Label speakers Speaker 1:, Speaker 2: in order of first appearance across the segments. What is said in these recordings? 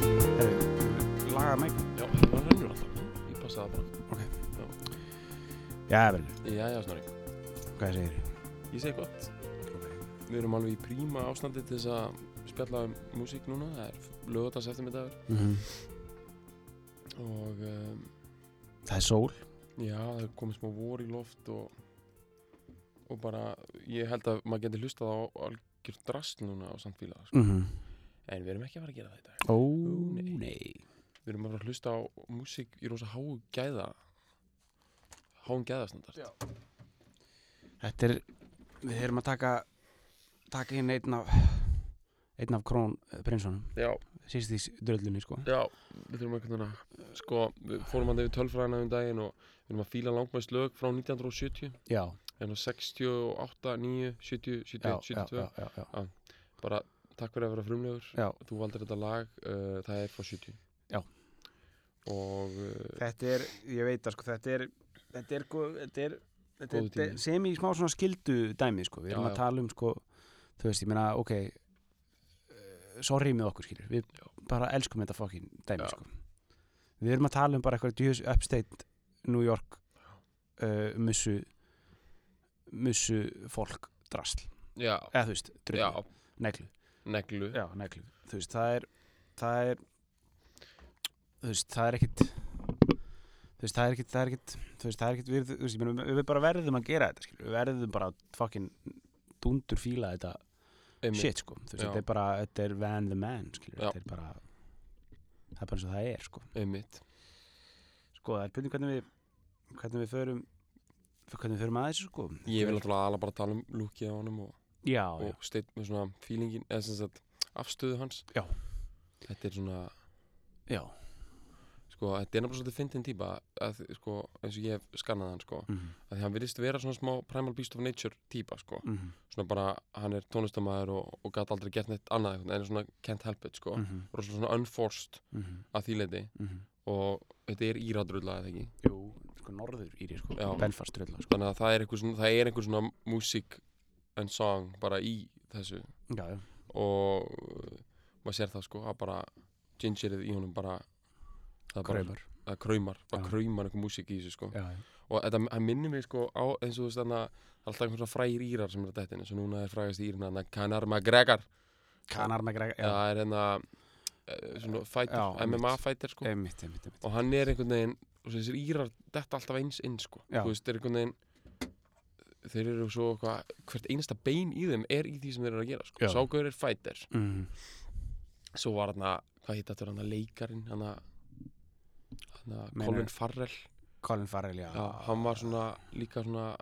Speaker 1: Herru, laga mig
Speaker 2: Já, það rennur alltaf. Ég passa það bara.
Speaker 1: Já, vel,
Speaker 2: Já, já, snorri.
Speaker 1: hvað segir þið?
Speaker 2: Ég segi gott. Við erum alveg í príma ástandi til þess að spjalla um músík núna. Það er lögadags eftirmiddagur
Speaker 1: Mm
Speaker 2: og um,
Speaker 1: Það er sól
Speaker 2: já, það er komið smá vor í loft og, og bara, ég held að maður geti hlustað á algjör drast núna á samtfíla. Sko.
Speaker 1: mm -hmm.
Speaker 2: En við erum ekki að fara að gera það í dag.
Speaker 1: Ó,
Speaker 2: nei.
Speaker 1: nei
Speaker 2: Við erum að fara að hlusta á músík í rosa háu gæða. Háum gæðastandard. Já.
Speaker 1: Þetta er, við erum að taka taka inn einn af einn af Krón Prinssonum
Speaker 2: já.
Speaker 1: síst í s- dröllunni, sko
Speaker 2: Já, við þurfum einhvern veginn að sko, við fórum að yfir tölfræðina um daginn og við erum að fíla langmæst lög frá 1970
Speaker 1: Já,
Speaker 2: en á 68, 9, 70,
Speaker 1: já,
Speaker 2: 71,
Speaker 1: já,
Speaker 2: 72
Speaker 1: já, já, já.
Speaker 2: bara takk fyrir að vera frumlegur
Speaker 1: já.
Speaker 2: þú valdir þetta lag, uh, það er frá 70
Speaker 1: Já.
Speaker 2: og uh,
Speaker 1: Þetta er, ég veit að sko, þetta er þetta er, sko, þetta er, þetta
Speaker 2: Góður tími.
Speaker 1: er sem í smá svona skildu dæmi, sko við
Speaker 2: Já,
Speaker 1: erum að
Speaker 2: já.
Speaker 1: tala um, sko, þú veist, ég meina, ok eh, sorry með okkur, skilur við bara elskum þetta fokkin dæmi,
Speaker 2: Já.
Speaker 1: sko við erum að tala um bara eitthvað djús upstate New York uh, mussu mussu fólk drasl
Speaker 2: já,
Speaker 1: eða þú veist,
Speaker 2: já,
Speaker 1: drullu, neglu
Speaker 2: neglu
Speaker 1: já, neglu, þú veist, það er það er þú veist, það er ekkit þú veist, það er ekkit, það er ekkit þú veist, það er ekkit, við, þú veist, ég meina, við- við bara verðum að gera þetta, skilur, við verðum bara að fokkin dundur fíla þetta
Speaker 2: einmitt.
Speaker 1: shit, sko, þú veist,
Speaker 2: Já.
Speaker 1: þetta er bara þetta er van the man, skilur,
Speaker 2: Já.
Speaker 1: þetta er bara það er bara eins og það er, sko
Speaker 2: einmitt
Speaker 1: sko, það er byrjum hvernig við hvernig við förum hvernig við förum að þessu, sko
Speaker 2: ég vil alltaf ala bara tala um lúkið á honum og,
Speaker 1: já, já,
Speaker 2: og steyt með svona feelingin eða sem sagt afstöðu hans
Speaker 1: Já.
Speaker 2: þetta er svona
Speaker 1: já
Speaker 2: sko, þetta er náttúrulega svolítið fyndin típa að, sko, eins og ég hef skannað hann sko,
Speaker 1: mm
Speaker 2: að því hann virðist vera svona smá primal beast of nature típa sko,
Speaker 1: -hmm.
Speaker 2: svona bara hann er tónlistamæður og, og gat aldrei gert neitt annað einhvern, veginn, en er svona can't help it sko,
Speaker 1: Mm -hmm.
Speaker 2: rosalega svona unforced
Speaker 1: mhm,
Speaker 2: að því leiti og þetta er íradrulla eða ekki,
Speaker 1: jú, mhm. sko, norður íri, sko
Speaker 2: Já.
Speaker 1: Belfast röðla, sko
Speaker 2: þannig að það er einhver svona, það er einhver svona music and song bara í þessu
Speaker 1: já, já,
Speaker 2: og uh, maður sér það sko að bara gingerið í honum bara það er bara,
Speaker 1: kraumar
Speaker 2: að kraumar, bara
Speaker 1: Já.
Speaker 2: kraumar einhver músík í þessu sko
Speaker 1: já, já.
Speaker 2: og þetta hann minnir mig sko á eins og þú veist þannig að alltaf einhverja frægir írar sem er að detta inn eins og núna er frægast írin hann að Kanar McGregor
Speaker 1: kanar með grega, já,
Speaker 2: það er hérna eh, svona fighter,
Speaker 1: Já, einmitt.
Speaker 2: MMA fighter sko
Speaker 1: einmitt, einmitt, einmitt
Speaker 2: og hann er einhvern veginn og þessir írar detta alltaf eins inn sko
Speaker 1: Já.
Speaker 2: þú veist þeir eru einhvern veginn þeir eru svo eitthvað, hvert einasta bein í þeim er í því sem þeir eru að gera
Speaker 1: Já.
Speaker 2: sko ságur er fighter,
Speaker 1: mm.
Speaker 2: svo var hann að hvað hitt þetta hann að leikarin hann að
Speaker 1: Meinar-
Speaker 2: Colin Farrell
Speaker 1: Colin Farrell, já,
Speaker 2: Já, hann var svona líka svona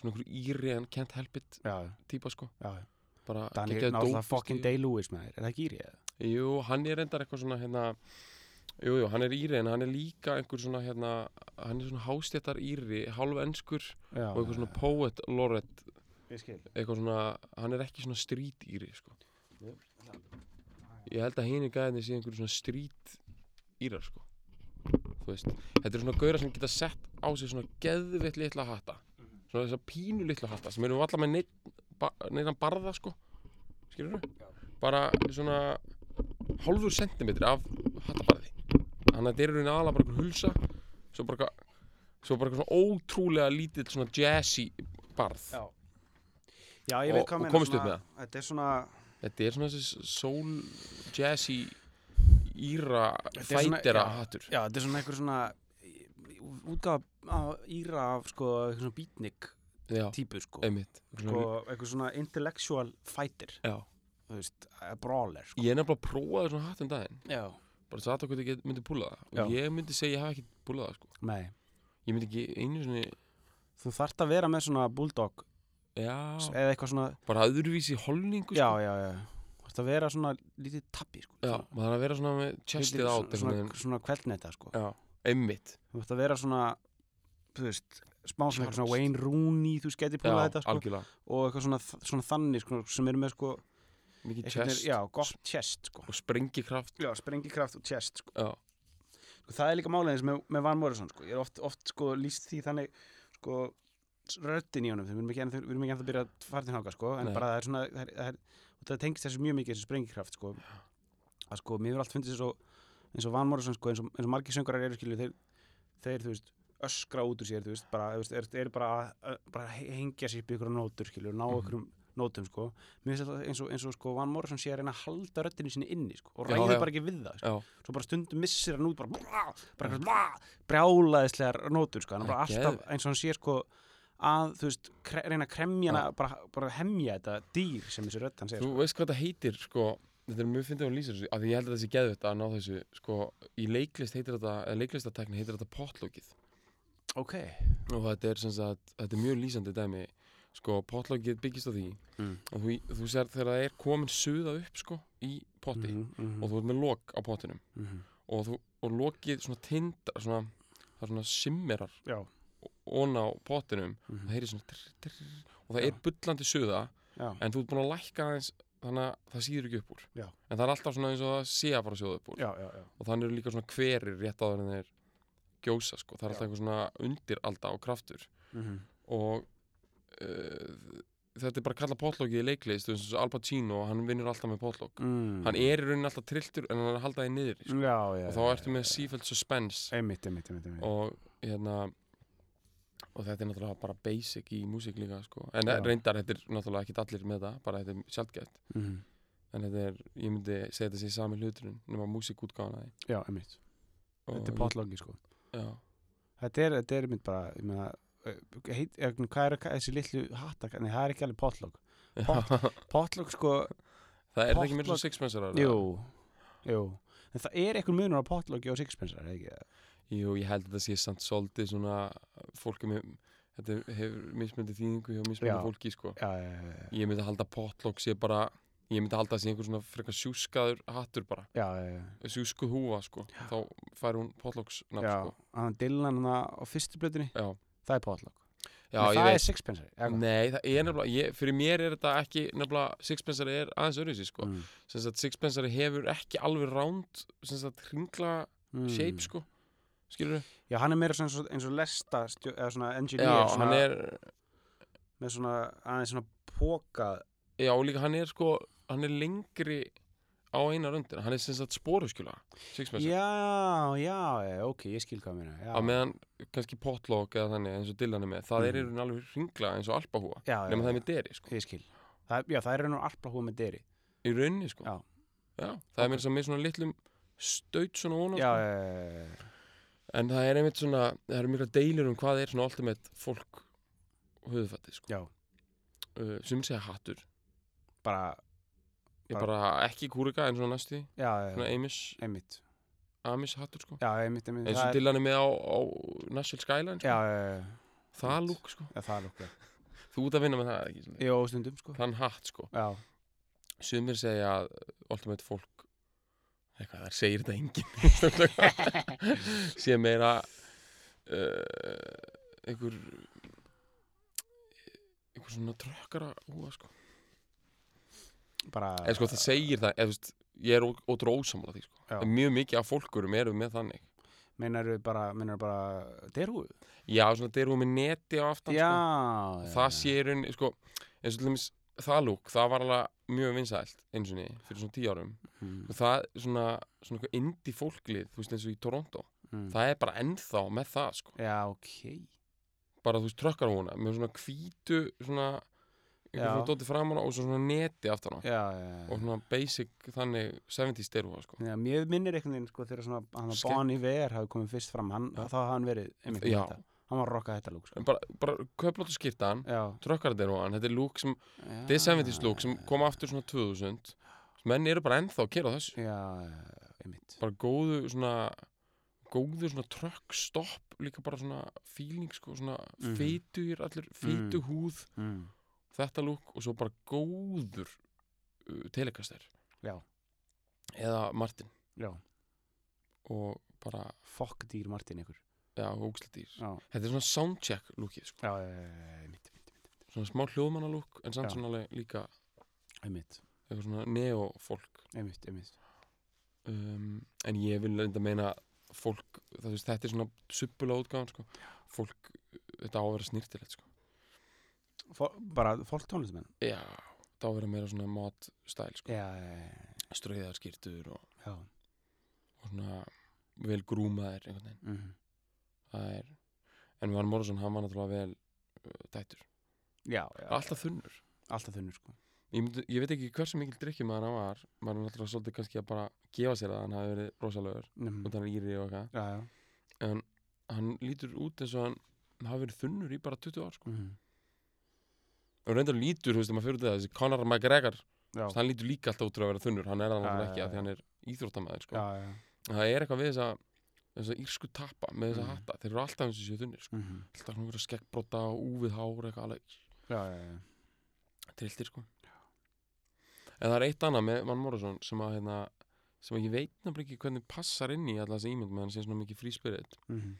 Speaker 2: svona einhver íri en can't help it
Speaker 1: já,
Speaker 2: típa sko
Speaker 1: já, já.
Speaker 2: bara
Speaker 1: Danny
Speaker 2: geggjaður
Speaker 1: náttúrulega
Speaker 2: dópisti.
Speaker 1: fokkin Day-Lewis með þér, er það ekki íri, eða?
Speaker 2: Jú, hann er endar eitthvað svona hérna Jú, jú, hann er íri en hann er líka einhver svona hérna hann er svona hástjættar íri, hálf enskur
Speaker 1: já,
Speaker 2: og einhver svona poet laureate
Speaker 1: ég skil
Speaker 2: eitthvað svona, hann er ekki svona street íri sko Ég held að hini gæðinni sé einhver svona street írar sko Þú veist, þetta er svona gauðra sem geta sett á sig svona geðvitt litla hatta svona þessa pínu litla hatta sem eru allar með neitt, ba neitt barða sko skilur bara svona hálfur sentimetri af hattabarði þannig að þetta er í rauninni aðalega bara einhver hulsa svo bara, eitthvað- svo bara eitthvað svona ótrúlega lítill svona jazzy barð
Speaker 1: Já. já, ég veit
Speaker 2: Og-
Speaker 1: hvað
Speaker 2: og
Speaker 1: meina,
Speaker 2: komist upp
Speaker 1: svona-
Speaker 2: með það.
Speaker 1: þetta er svona
Speaker 2: þetta er svona þessi soul jazzy íra
Speaker 1: Þetta er svona-
Speaker 2: fætera
Speaker 1: já.
Speaker 2: hattur
Speaker 1: Já, þetta er svona einhver svona útgaf af íra af sko, einhver svona beatnik
Speaker 2: já,
Speaker 1: típu sko,
Speaker 2: einmitt
Speaker 1: sko einhver svona intellectual fighter
Speaker 2: já.
Speaker 1: þú veist, a brawler sko.
Speaker 2: ég er nefnilega að prófa svona hatt um daginn
Speaker 1: Já,
Speaker 2: bara satt okkur ekki myndi púla það
Speaker 1: Já.
Speaker 2: og ég myndi segja ég hef ekki púlað það sko.
Speaker 1: nei
Speaker 2: ég myndi ekki einu svona
Speaker 1: Þú þarft að vera með svona bulldog
Speaker 2: já,
Speaker 1: eða eitthvað svona,
Speaker 2: bara öðruvísi holningu
Speaker 1: já,
Speaker 2: sko.
Speaker 1: já, já Þú þarft að vera svona lítið tabbi sko,
Speaker 2: já,
Speaker 1: svona-
Speaker 2: maður þarf að vera svona með chestið
Speaker 1: lítið
Speaker 2: át
Speaker 1: svona, svona, svona kveldnetta sko.
Speaker 2: já, einmitt
Speaker 1: Þú þarft að vera svona, þú veist smá svona, einhver svona
Speaker 2: Sharpst.
Speaker 1: Wayne Rooney, þú veist, geti púlað
Speaker 2: já,
Speaker 1: þetta sko.
Speaker 2: algjörlega
Speaker 1: og eitthvað svona, svona þannig sko, sem eru með sko
Speaker 2: mikið
Speaker 1: Einhvern veginn-
Speaker 2: chest
Speaker 1: já, gott chest sko.
Speaker 2: og sprengikraft
Speaker 1: já, sprengikraft og chest sko.
Speaker 2: já,
Speaker 1: Sko, það er líka málið eins með, með Van Morrison sko. ég er oft, oft sko, líst því þannig sko, röddin í honum við erum ekki ennþá- við erum ekki ennþá að byrja að fara til náka sko, en
Speaker 2: Nei.
Speaker 1: bara það er svona það, er, það, er, og það tengist þessu mjög mikið þessu sprengikraft sko. að sko, mér hefur allt fundið þessu eins og Van Morrison, sko, eins, og, eins og margir söngarar eru skilju, þeir, þeir, þú veist öskra út úr sér, þú veist, bara, þú veist, er, er bara, að- bara að hengja sér upp í ykkur nótur, skilju,
Speaker 2: Mhm.
Speaker 1: ná ykkur mm nótum, sko, mér finnst alltaf eins og, eins og sko, Van Morrison sé að reyna að halda röddinu sinni inni, sko, og
Speaker 2: Já,
Speaker 1: ræður
Speaker 2: já.
Speaker 1: bara ekki við það, sko
Speaker 2: já,
Speaker 1: svo bara stundum missir hann út bara, brá, bara brá, brjálaðislegar nótur sko, hann er bara
Speaker 2: Það er
Speaker 1: alltaf eins og hann sé sko að, þú veist, kre, reyna að kremja hana bara, bara hemja þetta dýr sem þessi rödd hann segir,
Speaker 2: þú veist hvað þetta heitir sko, þetta er mjög fyndið að hún lýsir þessu af því ég held að það sé geðvett að ná þessu sko, í leiklist heitir þetta, eða leiklistatekni heitir þetta potlókið
Speaker 1: sko. ok
Speaker 2: og þetta er sem sagt, þetta er mjög lýsandi dæmi sko, potlókið byggist á því
Speaker 1: Mm.
Speaker 2: og þú, þú sér þegar það er komin suða upp sko, í potti
Speaker 1: Mm-hmm, Mm.
Speaker 2: og þú ert með lok á pottinum og, þú, og lokið svona tindar svona, það er svona simmerar
Speaker 1: já,
Speaker 2: ón á pottinum
Speaker 1: Mhm.
Speaker 2: það heyrir svona drr, drr, og það
Speaker 1: Já.
Speaker 2: er bullandi suða
Speaker 1: já,
Speaker 2: en þú ert búin að lækka aðeins þannig að það síður ekki upp úr
Speaker 1: Já.
Speaker 2: en það er alltaf svona eins og það sé að fara að sjóða upp úr
Speaker 1: já, já, já.
Speaker 2: og þannig eru líka svona hverir rétt áður en þeir gjósa sko, það
Speaker 1: Já.
Speaker 2: er alltaf einhver svona undiralda og kraftur
Speaker 1: Mhm.
Speaker 2: og uh, þetta er bara að kalla potlókið í leiklist þú veist eins og Al Pacino, hann vinnur alltaf með potlók
Speaker 1: Mm.
Speaker 2: hann er í rauninni alltaf trilltur en hann er að halda þið niður sko.
Speaker 1: já, já,
Speaker 2: og þá ertu með sífælt suspense
Speaker 1: einmitt, einmitt, einmitt, einmitt.
Speaker 2: og hérna og þetta er náttúrulega bara basic í músík líka sko. en
Speaker 1: Já.
Speaker 2: reyndar þetta er náttúrulega ekkit allir með það bara þetta er sjaldgæft
Speaker 1: Mhm.
Speaker 2: en þetta er, ég myndi segja þetta sé sami hluturinn nema músíkútgáðan að
Speaker 1: já, einmitt,
Speaker 2: því
Speaker 1: þetta er potlogi sko
Speaker 2: já,
Speaker 1: þetta er, þetta er einmitt bara, ég meina eh, heit, eh, hvað er hvað- þessi litlu hatta, nei, það er ekki alveg potlog
Speaker 2: já.
Speaker 1: potlog sko,
Speaker 2: það er það ekki mér
Speaker 1: Potluck-
Speaker 2: svo sixpensarar
Speaker 1: Jú, jú En það er einhver munur á potlogi og sixpence er það ekki það?
Speaker 2: jú, ég held að þetta sé samt svolítið svona fólki með þetta hefur mismöndi þýðingu hjá mismöndi
Speaker 1: Já.
Speaker 2: fólki sko.
Speaker 1: Já, já, já,
Speaker 2: ég myndi halda að potlokk sé bara ég myndi halda að sé einhver svona frekar sjúskaður hattur bara,
Speaker 1: já, já, já,
Speaker 2: sjúskuð húfa sko. þá fær hún potlokksnafn
Speaker 1: já.
Speaker 2: sko.
Speaker 1: Hann Dylan hann á fyrstu blöðinni
Speaker 2: já,
Speaker 1: Það er potlog
Speaker 2: já
Speaker 1: Það
Speaker 2: ég veit
Speaker 1: er sixpence mm.
Speaker 2: Nei, það er nefnilega, ég, fyrir mér er þetta ekki nefnilega, sixpensari er aðeins öðruvísi sko.
Speaker 1: Mm,
Speaker 2: sem sagt sixpensari hefur ekki alveg ránd, sem sagt hringla
Speaker 1: Mm.
Speaker 2: shape sko skilur við?
Speaker 1: Já, hann er meira svona eins og, eins og lesta stjó, eða svona engineer
Speaker 2: Já,
Speaker 1: svona,
Speaker 2: hann er,
Speaker 1: með svona aðeins svona póka
Speaker 2: já og líka hann er sko hann er lengri á eina röndina hann er sem sagt sporuskjula sixpensari,
Speaker 1: Já, já, já, ok, ég skil hvað mér
Speaker 2: á
Speaker 1: Já,
Speaker 2: meðan kannski potlokk eða þannig eins og Dylan er með, það er í
Speaker 1: Mhm.
Speaker 2: raun alveg hringla eins og alpahúa,
Speaker 1: já, já,
Speaker 2: nema það er
Speaker 1: já,
Speaker 2: með deri sko,
Speaker 1: ég skil Það, já, það er raun og alpa húið með dyri
Speaker 2: í rauninni sko
Speaker 1: Já.
Speaker 2: Já, það er með, með svona litlum staut
Speaker 1: Já,
Speaker 2: svona
Speaker 1: já,
Speaker 2: vona sko.
Speaker 1: já, já, já.
Speaker 2: En það er einmitt svona, það eru mikla deilur um hvað er svona ultimate fólk höfðfætti, sko.
Speaker 1: Já.
Speaker 2: Uh, sem segja hattur.
Speaker 1: bara,
Speaker 2: Ég
Speaker 1: Bara-
Speaker 2: bara ekki kúrika en svona næstu,
Speaker 1: já, já,
Speaker 2: svona
Speaker 1: já,
Speaker 2: Amish,
Speaker 1: einmitt
Speaker 2: Amish hattur, sko.
Speaker 1: Já, einmitt, einmitt
Speaker 2: Eins
Speaker 1: það
Speaker 2: og
Speaker 1: er-
Speaker 2: Dylan er með á, á Nashville Skyline, sko.
Speaker 1: Já, já, já, já
Speaker 2: það
Speaker 1: einmitt.
Speaker 2: lúk, sko.
Speaker 1: Já, það er okkur.
Speaker 2: Þú ert að vinna með það, ekki? Svona.
Speaker 1: Jó, stundum, sko.
Speaker 2: Þann hatt, sko.
Speaker 1: Já,
Speaker 2: Sumir segja að ultimate fólk, eitthvað, það segir þetta enginn. Sér meira uh, einhver, einhver svona trökkara húa, sko.
Speaker 1: bara...
Speaker 2: En sko það segir það, eða, þú veist, ég er ó- ótrú ósamlega því sko.
Speaker 1: Já.
Speaker 2: En Mjög mikið af fólkurum eru með þannig
Speaker 1: Meinar við bara, meinar við bara, derhúðu?
Speaker 2: Já, svona þeir eru með neti á aftan
Speaker 1: Já,
Speaker 2: sko.
Speaker 1: já.
Speaker 2: Það sé í rauninni, sko eins og til dæmis það lúk, það var alveg mjög vinsælt eins og niður, fyrir svona tíu árum
Speaker 1: Mm,
Speaker 2: og það svona, svona eitthvað indi fólklið, þú veist eins og í Toronto
Speaker 1: mm.
Speaker 2: það er bara ennþá með það sko
Speaker 1: Já, ok.
Speaker 2: bara þú veist trökkar á hana, með svona hvítu svona,
Speaker 1: Já.
Speaker 2: eitthvað svona dóti framan á og svo svona neti aftan á
Speaker 1: Já, já,
Speaker 2: og
Speaker 1: já.
Speaker 2: svona basic þannig 70s derúa sko
Speaker 1: Já, mér minnir einhvern veginn, sko, þegar svona, hann að
Speaker 2: Skemmt.
Speaker 1: Bonnie Ver hafi komið fyrst fram, hann,
Speaker 2: Já.
Speaker 1: þá hafði hann verið, einmitt,
Speaker 2: Já.
Speaker 1: þetta. Hann var að rokka þetta lúk,
Speaker 2: En
Speaker 1: sko.
Speaker 2: bara, bara köplóttu skýrtan
Speaker 1: Já.
Speaker 2: trökkarderúan, þetta er lúk sem
Speaker 1: já.
Speaker 2: þetta er 70s lúk sem kom aftur svona 2000 menn eru bara ennþá að gera þessu
Speaker 1: Já, já, einmitt.
Speaker 2: bara góðu svona góðu svona trökkstopp líka bara svona feeling sko svona
Speaker 1: Mhm.
Speaker 2: mm. feitugir allir, feitu húð
Speaker 1: Mm.
Speaker 2: þetta lúk og svo bara góður uh, telekaster
Speaker 1: Já.
Speaker 2: eða Martin
Speaker 1: Já.
Speaker 2: og bara,
Speaker 1: Fokk dýr Martin ykkur.
Speaker 2: já, ógsladýr
Speaker 1: Já,
Speaker 2: þetta er svona soundcheck lúkið sko
Speaker 1: já, já, já, já, einmitt,
Speaker 2: svona smá hljóðmanna lúk en samt
Speaker 1: Já.
Speaker 2: svona alveg líka
Speaker 1: einmitt.
Speaker 2: eitthvað svona neofólk
Speaker 1: einmitt, einmitt
Speaker 2: um, en ég vil reynda meina fólk, það, þú veist, þetta er svona subbulega útgáðan sko. fólk, þetta á að vera snirtilegt sko.
Speaker 1: Fó, bara fólk tónlistamenn
Speaker 2: já, þetta á að vera meira svona matstæl sko.
Speaker 1: já, já, já,
Speaker 2: ströðar skýrtur og,
Speaker 1: já.
Speaker 2: og svona vel grúmaðir einhvern veginn
Speaker 1: Mm -hmm.
Speaker 2: það er, en Van Morrison hann var náttúrulega vel uh, dættur,
Speaker 1: já, já
Speaker 2: alltaf þunnur
Speaker 1: alltaf þunnur sko
Speaker 2: ég, myndi, ég veit ekki hversu mikil drikkjum maður hann var maður er náttúrulega svolítið kannski að bara gefa sér að hann hafi verið rosalögur
Speaker 1: mm
Speaker 2: og þannig íri og eitthvað
Speaker 1: já, já
Speaker 2: en hann lítur út eins og hann hafi verið þunnur í bara 20 ár sko.
Speaker 1: mm
Speaker 2: og reyndar lítur, þú veist, ef maður fyrir út í það þessi Conor McGregor,
Speaker 1: já.
Speaker 2: hann lítur líka alltaf út fyrir að vera þunnur hann er það
Speaker 1: Já,
Speaker 2: náttúrulega
Speaker 1: já,
Speaker 2: ekki að
Speaker 1: já.
Speaker 2: því hann er íþróttamæður sko.
Speaker 1: já, já, já
Speaker 2: það er eitthvað við þessa, þessa írsku tappa með þessa
Speaker 1: Mhm.
Speaker 2: hatta, þeir eru alltaf eins og séu þunnir sko.
Speaker 1: mm
Speaker 2: alltaf hann verið skekkbrota og úfið hár eitthvað alveg
Speaker 1: já, já, já
Speaker 2: trilltir sko en það er eitt annað með Van Morrison sem að hérna, sem að ég veit náttúrulega ekki hvernig passar inn í alla þessa ímynd með hann sé svona mikið fríspirit
Speaker 1: mm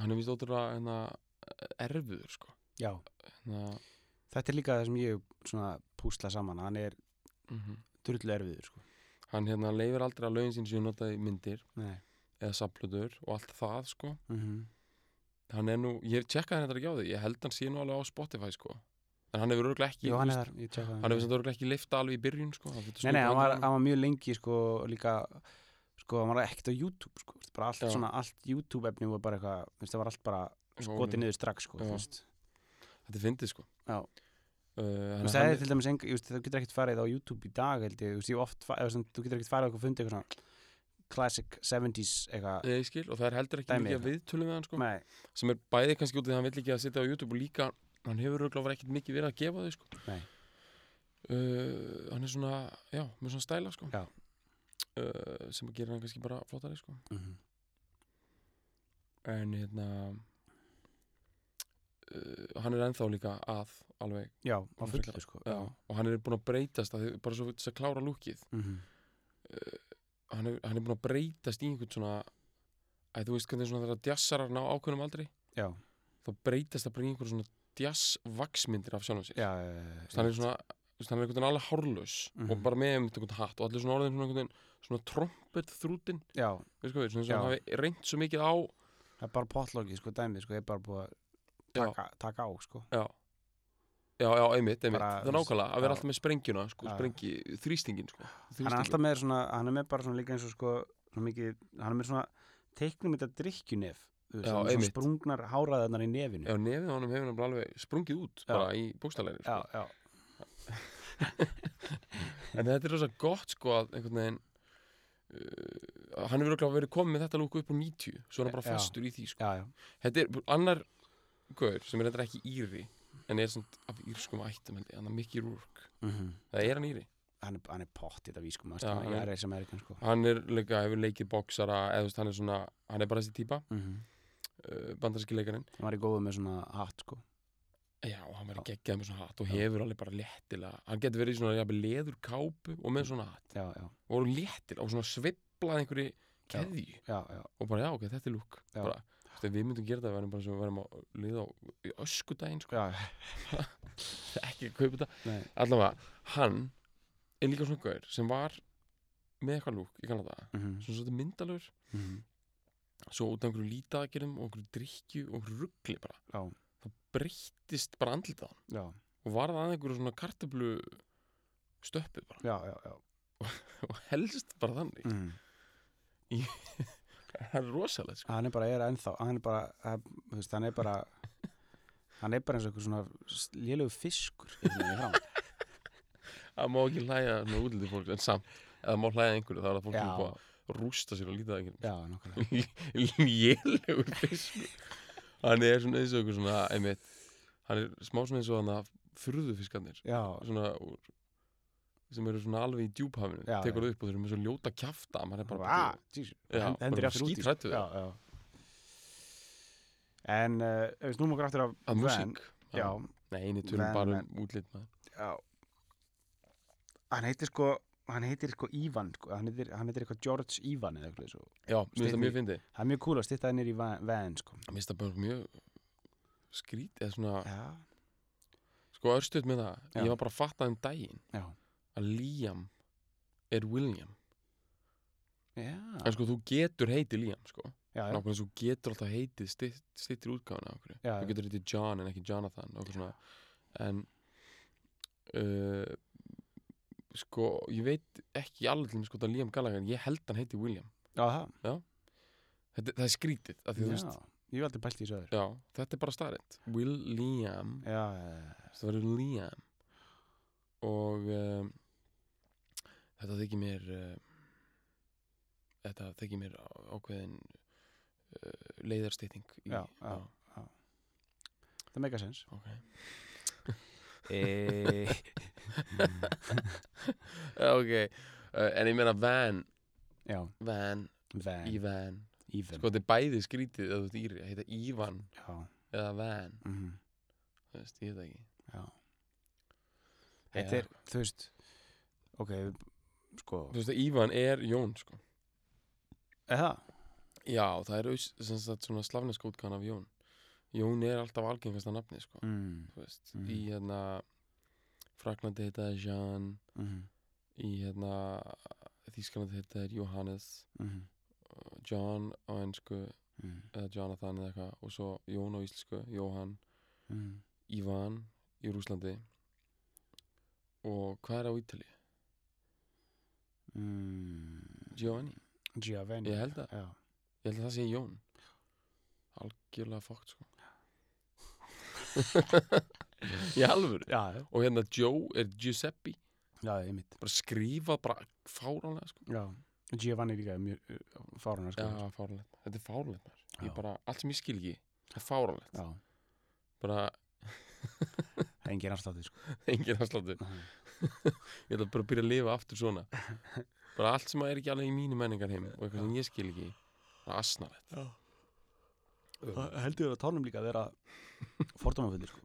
Speaker 2: hann er vist ótrúlega hérna, erfiður sko
Speaker 1: já
Speaker 2: hérna,
Speaker 1: þetta er líka það sem ég svona púsla saman hann er
Speaker 2: mm
Speaker 1: Mhm. drullu erfiður sko
Speaker 2: hann hérna leifir aldrei að lögin sín sem ég notaði í myndir
Speaker 1: nei
Speaker 2: eða saplutur og allt það sko
Speaker 1: mm
Speaker 2: hann er nú, ég tjekkaði hann þetta ekki á því ég held hann sé nú alveg á Spotify sko en hann hefur örgulega ekki
Speaker 1: jú, hann er
Speaker 2: þú veist,
Speaker 1: þar ég tjekka
Speaker 2: hann hefur samt örugglega ekki leifta alveg í byrjun sko það
Speaker 1: Nei,
Speaker 2: þurfti að
Speaker 1: nei,
Speaker 2: skutla
Speaker 1: hann var,
Speaker 2: hann.
Speaker 1: hann var mjög lengi sko líka sko, hann var ekkert á YouTube sko, veist, bara allt
Speaker 2: Já.
Speaker 1: svona, allt YouTube efni var bara eitthvað, þú veist, það var allt bara skotið niður strax sko,
Speaker 2: Já.
Speaker 1: þú veist
Speaker 2: þetta er fyndið sko
Speaker 1: Já.
Speaker 2: Uh,
Speaker 1: Þú
Speaker 2: þannig
Speaker 1: veist,
Speaker 2: að hann
Speaker 1: það
Speaker 2: er-
Speaker 1: er til dæmis enga, þú veist, þú getur ekkert farið á YouTube í dag, held ég, þú veist, ég hef oft fa- eða svona, þú getur ekkert farið á eitthvað fundið eitthvað svona classic 70s eitthvað,
Speaker 2: Ég Eh, skil, og það er heldur ekki
Speaker 1: Dæmi
Speaker 2: mikið að
Speaker 1: eitthvað.
Speaker 2: viðtölu með hann sko,
Speaker 1: nei,
Speaker 2: sem er bæði kannski út af því að hann vill ekki að sitja á YouTube og líka hann hefur örgulega ekkert mikið verið að gefa þau sko.
Speaker 1: Nei.
Speaker 2: uh, hann er svona, já, með svona stæla sko.
Speaker 1: Já.
Speaker 2: uh, sem gerir hann kannski bara flottari sko.
Speaker 1: mm
Speaker 2: en hérna uh, hann er ennþá líka að alveg,
Speaker 1: já, á
Speaker 2: Hún frekar-
Speaker 1: fullu sko
Speaker 2: já. og hann er búin að breytast að, bara svo þess að klára lúkið
Speaker 1: Mhm.
Speaker 2: hann er, hann er búin að breytast í einhvern svona að þú veist hvernig svona þegar djassarar ná ákveðnum aldrei
Speaker 1: já,
Speaker 2: þá breytast það bara í einhverjum svona djassvaksmyndir af sjálfum sér
Speaker 1: já,
Speaker 2: Þú veist, hann er svona, þú veist, hann er einhvern veginn alveg hárlaus og
Speaker 1: Mhm.
Speaker 2: bara með einmitt einhvern hatt og allir svona orðin svona einhvern veginn svona trompet þrútin
Speaker 1: já,
Speaker 2: veist hvað við, svona sem hann
Speaker 1: Já.
Speaker 2: hafi reynt svo mikið á
Speaker 1: það er bara potlogi sko, dæmið sko, ég er bara búið að
Speaker 2: Já.
Speaker 1: taka, taka á sko,
Speaker 2: já, já, já einmitt, einmitt
Speaker 1: Bara,
Speaker 2: það er nákvæmlega, að vera
Speaker 1: já.
Speaker 2: alltaf með sprengjuna sko,
Speaker 1: Já.
Speaker 2: sprengi, þrýstingin sko,
Speaker 1: hann er alltaf með svona, hann er með bara svona líka eins og sko, svona mikið, hann er með svona teiknum þetta drikkjunef, þú veist,
Speaker 2: Já,
Speaker 1: hann er svona
Speaker 2: einmitt.
Speaker 1: sprungnar háraðarnar í nefinu
Speaker 2: já, nefið á honum hefur hann alveg sprungið út
Speaker 1: Já.
Speaker 2: bara í bókstæleginni sko.
Speaker 1: já, já,
Speaker 2: en þetta er rosa gott sko að einhvern veginn uh, hann hefur örugglega verið komið með þetta lúku upp á 90 svo er hann bara
Speaker 1: Já.
Speaker 2: fastur í því sko.
Speaker 1: já, já,
Speaker 2: Þetta er annar gaur sem er reyndar ekki íri en er samt af írskum ættum held ég, hann er Mickey Rourke
Speaker 1: mhm.
Speaker 2: það er hann íri,
Speaker 1: hann er, hann er pott í þetta vískum
Speaker 2: Já,
Speaker 1: hann
Speaker 2: hann er-
Speaker 1: er sem er eitthvað sko.
Speaker 2: hann er líka hefur leikið boksara, eða þú veist hann er svona hann er bara þessi típa,
Speaker 1: mm
Speaker 2: uh, bandarski leikarinn
Speaker 1: hann var í góðu með svona hatt sko.
Speaker 2: já, og hann verið geggjað með svona hatt og hefur alveg bara léttilega, hann getur verið í svona jafnvel leður kápu og með svona hatt
Speaker 1: já, já,
Speaker 2: og voru léttilega og svona sveiflað einhverju keðju
Speaker 1: já, já,
Speaker 2: og bara já, ok, þetta er lúk
Speaker 1: Já.
Speaker 2: bara, þú veist, ef við myndum gera það, við verðum bara svo við verðum að liða á í öskudaginn sko,
Speaker 1: já,
Speaker 2: ekki að kaupa þetta
Speaker 1: nei,
Speaker 2: allavega, hann er líka svona gaur sem var með eitthvað lúk í kannada
Speaker 1: mm
Speaker 2: svona svolítið myndalur, mhm. svo út af einhverju lítaðagerum og einhverju drykju og einhverju ruggli bara
Speaker 1: já,
Speaker 2: breyttist bara andlitað hann
Speaker 1: já,
Speaker 2: og varð að einhverju svona kartöflu stöppu bara
Speaker 1: já, já, já.
Speaker 2: og helst bara þannig
Speaker 1: Mm.
Speaker 2: það er rosalegt sko.
Speaker 1: hann er bara, er ennþá hann er bara, hann, þú veist, hann er bara hann er bara eins og einhver svona lélegu fiskur einhvern veginn í framan.
Speaker 2: það má ekki hlæja með útlitið fólk en samt, eða má hlæja einhverju þá er það fólk sem er
Speaker 1: já,
Speaker 2: búið að rústa sér og lítaðagerum
Speaker 1: já, nákvæmlega
Speaker 2: lélegur fiskur hann er svona eins og einhver svona einmitt, hann er smá svona eins og hann að furðufiskarnir
Speaker 1: já,
Speaker 2: svona úr, sem eru svona alveg í djúphafinu
Speaker 1: Já,
Speaker 2: tekur það upp og þeir eru með svo ljóta kjafta maður er bara
Speaker 1: bara,
Speaker 2: Já,
Speaker 1: ah, hendur
Speaker 2: bara
Speaker 1: ég aftur út í
Speaker 2: skíthræddur við
Speaker 1: já, já. en uh, ef við snúum okkur aftur af
Speaker 2: að
Speaker 1: Van,
Speaker 2: músík
Speaker 1: já,
Speaker 2: nei, við tölum
Speaker 1: Van,
Speaker 2: bara
Speaker 1: Van.
Speaker 2: um útlit maður
Speaker 1: Já Hann heitir sko Hann heitir sko Ívan sko. Hann, heitir, hann heitir eitthvað George Ívan eða eitthvað svo.
Speaker 2: já, mér finnst það
Speaker 1: Steini.
Speaker 2: mjög fyndi
Speaker 1: Það er mjög cool að stýta hennir í van, van sko.
Speaker 2: mér finnst það bara mjög skrít eða svona,
Speaker 1: Já,
Speaker 2: sko örstuð með það
Speaker 1: Já.
Speaker 2: ég var bara að fatta um daginn
Speaker 1: já,
Speaker 2: að Liam er William
Speaker 1: já,
Speaker 2: en sko þú getur heitið Liam sko
Speaker 1: já, já,
Speaker 2: nákvæmlega eins og þú getur alltaf heitið stytt, styttir útgáfuna okkur
Speaker 1: Já, já.
Speaker 2: þú getur heitið John en ekki Jonathan okkur svona en uh, sko ég veit ekki alveg til mér sko það Liam Gallagher ég held hann heiti William
Speaker 1: já, það
Speaker 2: þetta, það er skrítið af því, þú
Speaker 1: Já,
Speaker 2: veist,
Speaker 1: ég hef aldrei pælt í þessu öður
Speaker 2: já, þetta er bara starrend Will Liam
Speaker 1: Já, já, já,
Speaker 2: það verður Liam og um, þetta þykir mér uh, þetta þykir mér á- ákveðin uh, leiðarstýting í,
Speaker 1: Já, já. það meika sens
Speaker 2: ok Eh.
Speaker 1: e...
Speaker 2: ok, uh, en ég meina van
Speaker 1: Já,
Speaker 2: van,
Speaker 1: Van
Speaker 2: Ivan
Speaker 1: Even
Speaker 2: sko þetta er bæði skrítið eða þú ert íri, heita Ivan
Speaker 1: Já,
Speaker 2: eða van,
Speaker 1: mm
Speaker 2: þú veist, ég veit það ekki
Speaker 1: já Þetta er, þú veist Ok, sko
Speaker 2: þú veist að Ivan er Jón sko
Speaker 1: Eða,
Speaker 2: já, það er aus- sem sagt, svona slafnesk útgáðan af Jón Jón er alltaf algengasta nafni sko
Speaker 1: mm,
Speaker 2: þú veist,
Speaker 1: Mhm.
Speaker 2: í hérna Fraklandi heita það Jean
Speaker 1: mm,
Speaker 2: í hérna Þísklandi heita það Johannes
Speaker 1: mm,
Speaker 2: uh, John á ennsku
Speaker 1: mm,
Speaker 2: eða Jonathan eða eitthvað og svo Jón á íslensku, Jóhann
Speaker 1: mm.
Speaker 2: Ivan í Rúslandi og hvað er á Ítali?
Speaker 1: Mm.
Speaker 2: Giovanni,
Speaker 1: Giovanni
Speaker 2: ég held að
Speaker 1: Já,
Speaker 2: ég held að það sé Jón algjörlega fókt sko í alvöru
Speaker 1: já, já,
Speaker 2: og hérna Joe er Giuseppe
Speaker 1: já, ég mitt
Speaker 2: bara skrifa bara fáránlega sko
Speaker 1: Já, Giovanni líka er mjög fárunar sko
Speaker 2: Já, fáránlegt. Þetta er fáránlegt maður.
Speaker 1: Já.
Speaker 2: Ég bara, allt sem ég skil ekki, það er fáránlegt.
Speaker 1: já.
Speaker 2: Bara,
Speaker 1: Engin afslátti sko
Speaker 2: engin afsláttu.
Speaker 1: Nei.
Speaker 2: Ég ætla bara að byrja að lifa aftur svona. Bara allt sem er ekki alveg í mínu menningar heim og eitthvað sem ég skil ekki, það er asnalegt.
Speaker 1: Já Það heldur þér að tánum líka að vera fordómafullir sko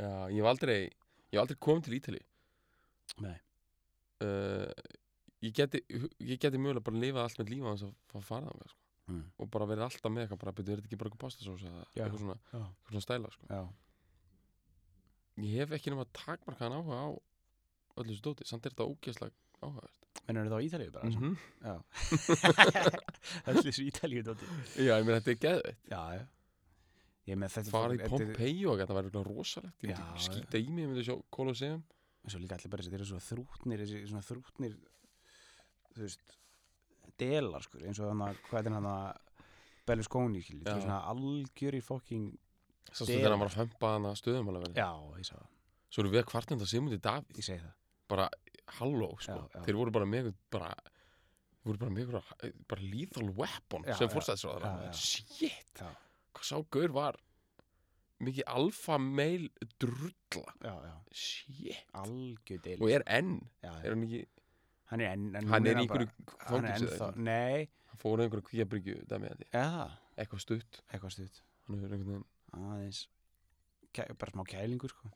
Speaker 2: Já, ég hef aldrei, ég hef aldrei komið til Ítali.
Speaker 1: Nei.
Speaker 2: Uh, ég geti, ég geti mögulega bara lifað allt með lífa hans að fá að fara þangað, sko.
Speaker 1: Mm.
Speaker 2: Og bara verið alltaf með eitthvað, bara, betur, er þetta ekki bara eitthvað pastasósa eða
Speaker 1: Já.
Speaker 2: eitthvað svona,
Speaker 1: Já,
Speaker 2: eitthvað svona stæla, sko.
Speaker 1: já,
Speaker 2: Ég hef ekki nema takmarkaðan áhuga á öllu þessu dóti, samt er þetta ógeðslega áhugavert.
Speaker 1: mennur það á Ítalíu bara
Speaker 2: Mhm.
Speaker 1: Já Öll þessu ítalíu dóti
Speaker 2: Já, ég meina þetta er geðveitt
Speaker 1: Já, já Ég með þetta
Speaker 2: Fara í
Speaker 1: þetta er-
Speaker 2: Pompeii og þetta væri örugglega rosalegt Ég
Speaker 1: Já,
Speaker 2: myndi skýta í mig, ég myndi sjá Colosseum
Speaker 1: En svo líka allir bara þessi, þeir eru svo þrútnir þessi svona þrútnir þú veist, delar skur eins og hann að, hvað er hann að Berlusconi, skilur, þú
Speaker 2: Já.
Speaker 1: veist, svona algjörir fokking,
Speaker 2: Sástu
Speaker 1: Delar.
Speaker 2: þegar hann var að fömpa hana stöðum alveg verið
Speaker 1: já, ég sá það
Speaker 2: Svo eru við að kvartenda Sigmundi Davíð
Speaker 1: ég segi það,
Speaker 2: Bara halló, sko
Speaker 1: Já, já.
Speaker 2: Þeir voru bara með einhvern- bara Þeir voru bara með einhverja, eh, bara lethal weapon
Speaker 1: Já,
Speaker 2: sem
Speaker 1: já. Já, já.
Speaker 2: fórstæðisráðara Shit,
Speaker 1: já,
Speaker 2: hvað sá gaur var Mikið alfa meil drulla
Speaker 1: já, já
Speaker 2: Shit
Speaker 1: algjör deil
Speaker 2: Og er enn,
Speaker 1: já, já.
Speaker 2: er hann ekki
Speaker 1: hann er enn, en
Speaker 2: Hann
Speaker 1: núna
Speaker 2: er í
Speaker 1: bara-
Speaker 2: einhverju
Speaker 1: hann er
Speaker 2: fangilsi eða
Speaker 1: ennþá, nei,
Speaker 2: Hann fór í einhverju kvíabryggju, dæmi að því
Speaker 1: eða
Speaker 2: Eitthvað stutt,
Speaker 1: eitthvað stutt,
Speaker 2: hann hefur einhvern veginn
Speaker 1: aðeins kæ, bara smá kælingur, sko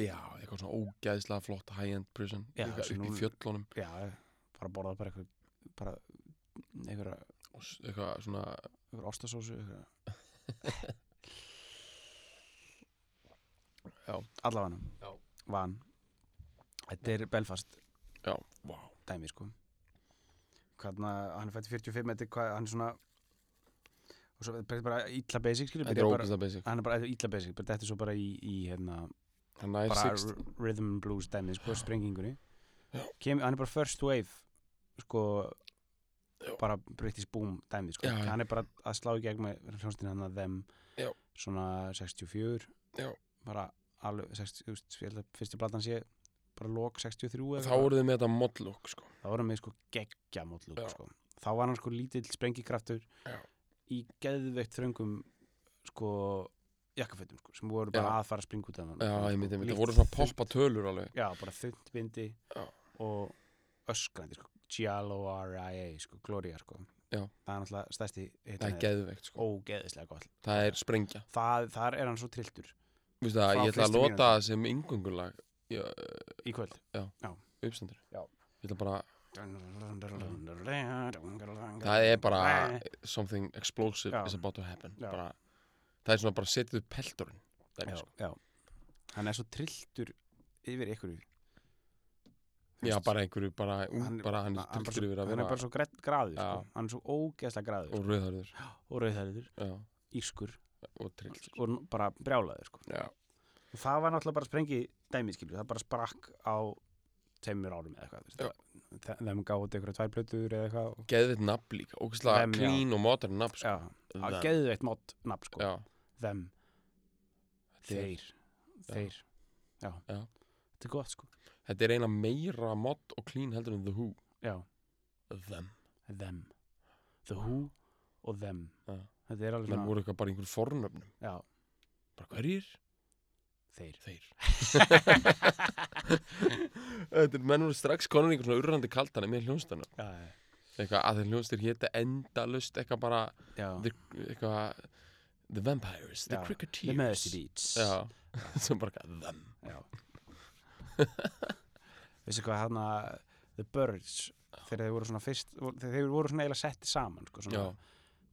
Speaker 2: Já, eitthvað svona ógæðislega flott high-end prison
Speaker 1: Já,
Speaker 2: eitthvað
Speaker 1: sem
Speaker 2: upp
Speaker 1: nú-
Speaker 2: í fjöllunum
Speaker 1: já, bara borða bara eitthvað bara einhverja,
Speaker 2: og s- eitthvað svona
Speaker 1: einhverja ostasósu einhverja
Speaker 2: Já.
Speaker 1: allavega
Speaker 2: Já.
Speaker 1: van þetta er Belfast
Speaker 2: Já, wow.
Speaker 1: dæmi sko Hvernig, hann er fætt 45 metri hvað, hann er svona og svo þetta er bara ítla basic skilur,
Speaker 2: Þetta
Speaker 1: byrjar
Speaker 2: er
Speaker 1: bara,
Speaker 2: ógæðislega basic
Speaker 1: hann er bara ítla basic bara þetta er svo bara í, í hérna,
Speaker 2: Hann nær
Speaker 1: bara
Speaker 2: 60
Speaker 1: r- rhythm and blues dæmi sko, sprengingunni
Speaker 2: Já.
Speaker 1: Kem, hann er bara first wave sko
Speaker 2: Já.
Speaker 1: bara British boom dæmi sko.
Speaker 2: Já, já.
Speaker 1: hann er bara að slá í gegn með hljónstin hann að þeim
Speaker 2: Já.
Speaker 1: svona 64
Speaker 2: Já.
Speaker 1: bara alveg 60, þú veist, ég held að fyrstu platan sé bara lok 63 eða
Speaker 2: Þá
Speaker 1: eitthvað.
Speaker 2: voruð þið með þetta modlook sko.
Speaker 1: þá var hann með sko geggja mótlúk
Speaker 2: Já.
Speaker 1: sko. þá var hann sko lítill sprengikraftur
Speaker 2: Já.
Speaker 1: í geðveikt þröngum sko jakkafötum sko, sem voru bara
Speaker 2: Já.
Speaker 1: að fara að springa út af hann sko,
Speaker 2: Já, ég myndi,
Speaker 1: Lítill,
Speaker 2: þetta voru svona
Speaker 1: þunnt-
Speaker 2: poppa tölur alveg
Speaker 1: já, bara þund bindi
Speaker 2: Já.
Speaker 1: og öskrandi sko, G-L-O-R-I-A sko, Gloria sko
Speaker 2: Já.
Speaker 1: það er náttúrulega stærsti
Speaker 2: Það er
Speaker 1: hitinn
Speaker 2: geðveikt sko.
Speaker 1: ógeðislega gott
Speaker 2: Það er sprengja
Speaker 1: það, þar er hann svo trilltur
Speaker 2: Vistu það,
Speaker 1: Frá
Speaker 2: ég ætla að
Speaker 1: fyrstu
Speaker 2: nota
Speaker 1: mínútu.
Speaker 2: það sem yngungulag
Speaker 1: í kvöld
Speaker 2: uppstandur
Speaker 1: Já.
Speaker 2: Ég ætla bara,
Speaker 1: það
Speaker 2: það er bara something explosive
Speaker 1: Já.
Speaker 2: is about to happen
Speaker 1: Já.
Speaker 2: bara, Það er svona bara setið upp peltorinn dæmi,
Speaker 1: já,
Speaker 2: sko.
Speaker 1: já. hann er svo trilltur yfir ykkur
Speaker 2: já, bara einhverju, bara, hann,
Speaker 1: Hann-
Speaker 2: bara hann er
Speaker 1: hann, bara
Speaker 2: styrktur
Speaker 1: svo,
Speaker 2: yfir að
Speaker 1: hann er
Speaker 2: vera
Speaker 1: bara svo grætt graður
Speaker 2: Já.
Speaker 1: sko. hann er svo ógeðslega graður sko.
Speaker 2: og rauðhörður,
Speaker 1: og rauðhæður,
Speaker 2: já,
Speaker 1: ískur
Speaker 2: og trilltur.
Speaker 1: og n- bara brjálaður sko.
Speaker 2: Já,
Speaker 1: og það var náttúrulega bara sprengi dæmi skilur, það bara sprakk á tveimur árum eða eitthvað þú veist,
Speaker 2: Já.
Speaker 1: það- þe- þeim gáðu eitthvað tvær plötur eða eitthvað og,
Speaker 2: geðvitt nafn líka, ógæslega
Speaker 1: Þeim, já.
Speaker 2: clean og modern nafn, sko.
Speaker 1: já,
Speaker 2: Them.
Speaker 1: að geðu eitt mót nafn sko,
Speaker 2: Já,
Speaker 1: þeim, þeir
Speaker 2: þeir.
Speaker 1: þeir, já,
Speaker 2: Já.
Speaker 1: þetta er gott sko
Speaker 2: Þetta er eina meira mod og clean heldur en The Who.
Speaker 1: já,
Speaker 2: Them.
Speaker 1: þeim, the who og þeim
Speaker 2: Já.
Speaker 1: þetta er alveg
Speaker 2: Menn
Speaker 1: svona,
Speaker 2: voru eitthvað bara einhver fornöfnum.
Speaker 1: já,
Speaker 2: Bara hverjir?
Speaker 1: þeir
Speaker 2: Þeir. Þetta er, menn voru strax konur einhver svona urrandi kaltana með hljónstanum.
Speaker 1: já, já,
Speaker 2: Eitthvað að þeir hljónstir hétta endalust eitthvað bara,
Speaker 1: já.
Speaker 2: the, eitthvað, The Vampires, The
Speaker 1: Já.
Speaker 2: Cricketeers.
Speaker 1: the mercy beats
Speaker 2: Já, sem bara eitthvað, Them.
Speaker 1: Já Vissi hvað hann The Birds þegar þeir voru svona fyrst voru- þegar þeir voru svona eiginlega setti saman sko, svona,
Speaker 2: Já,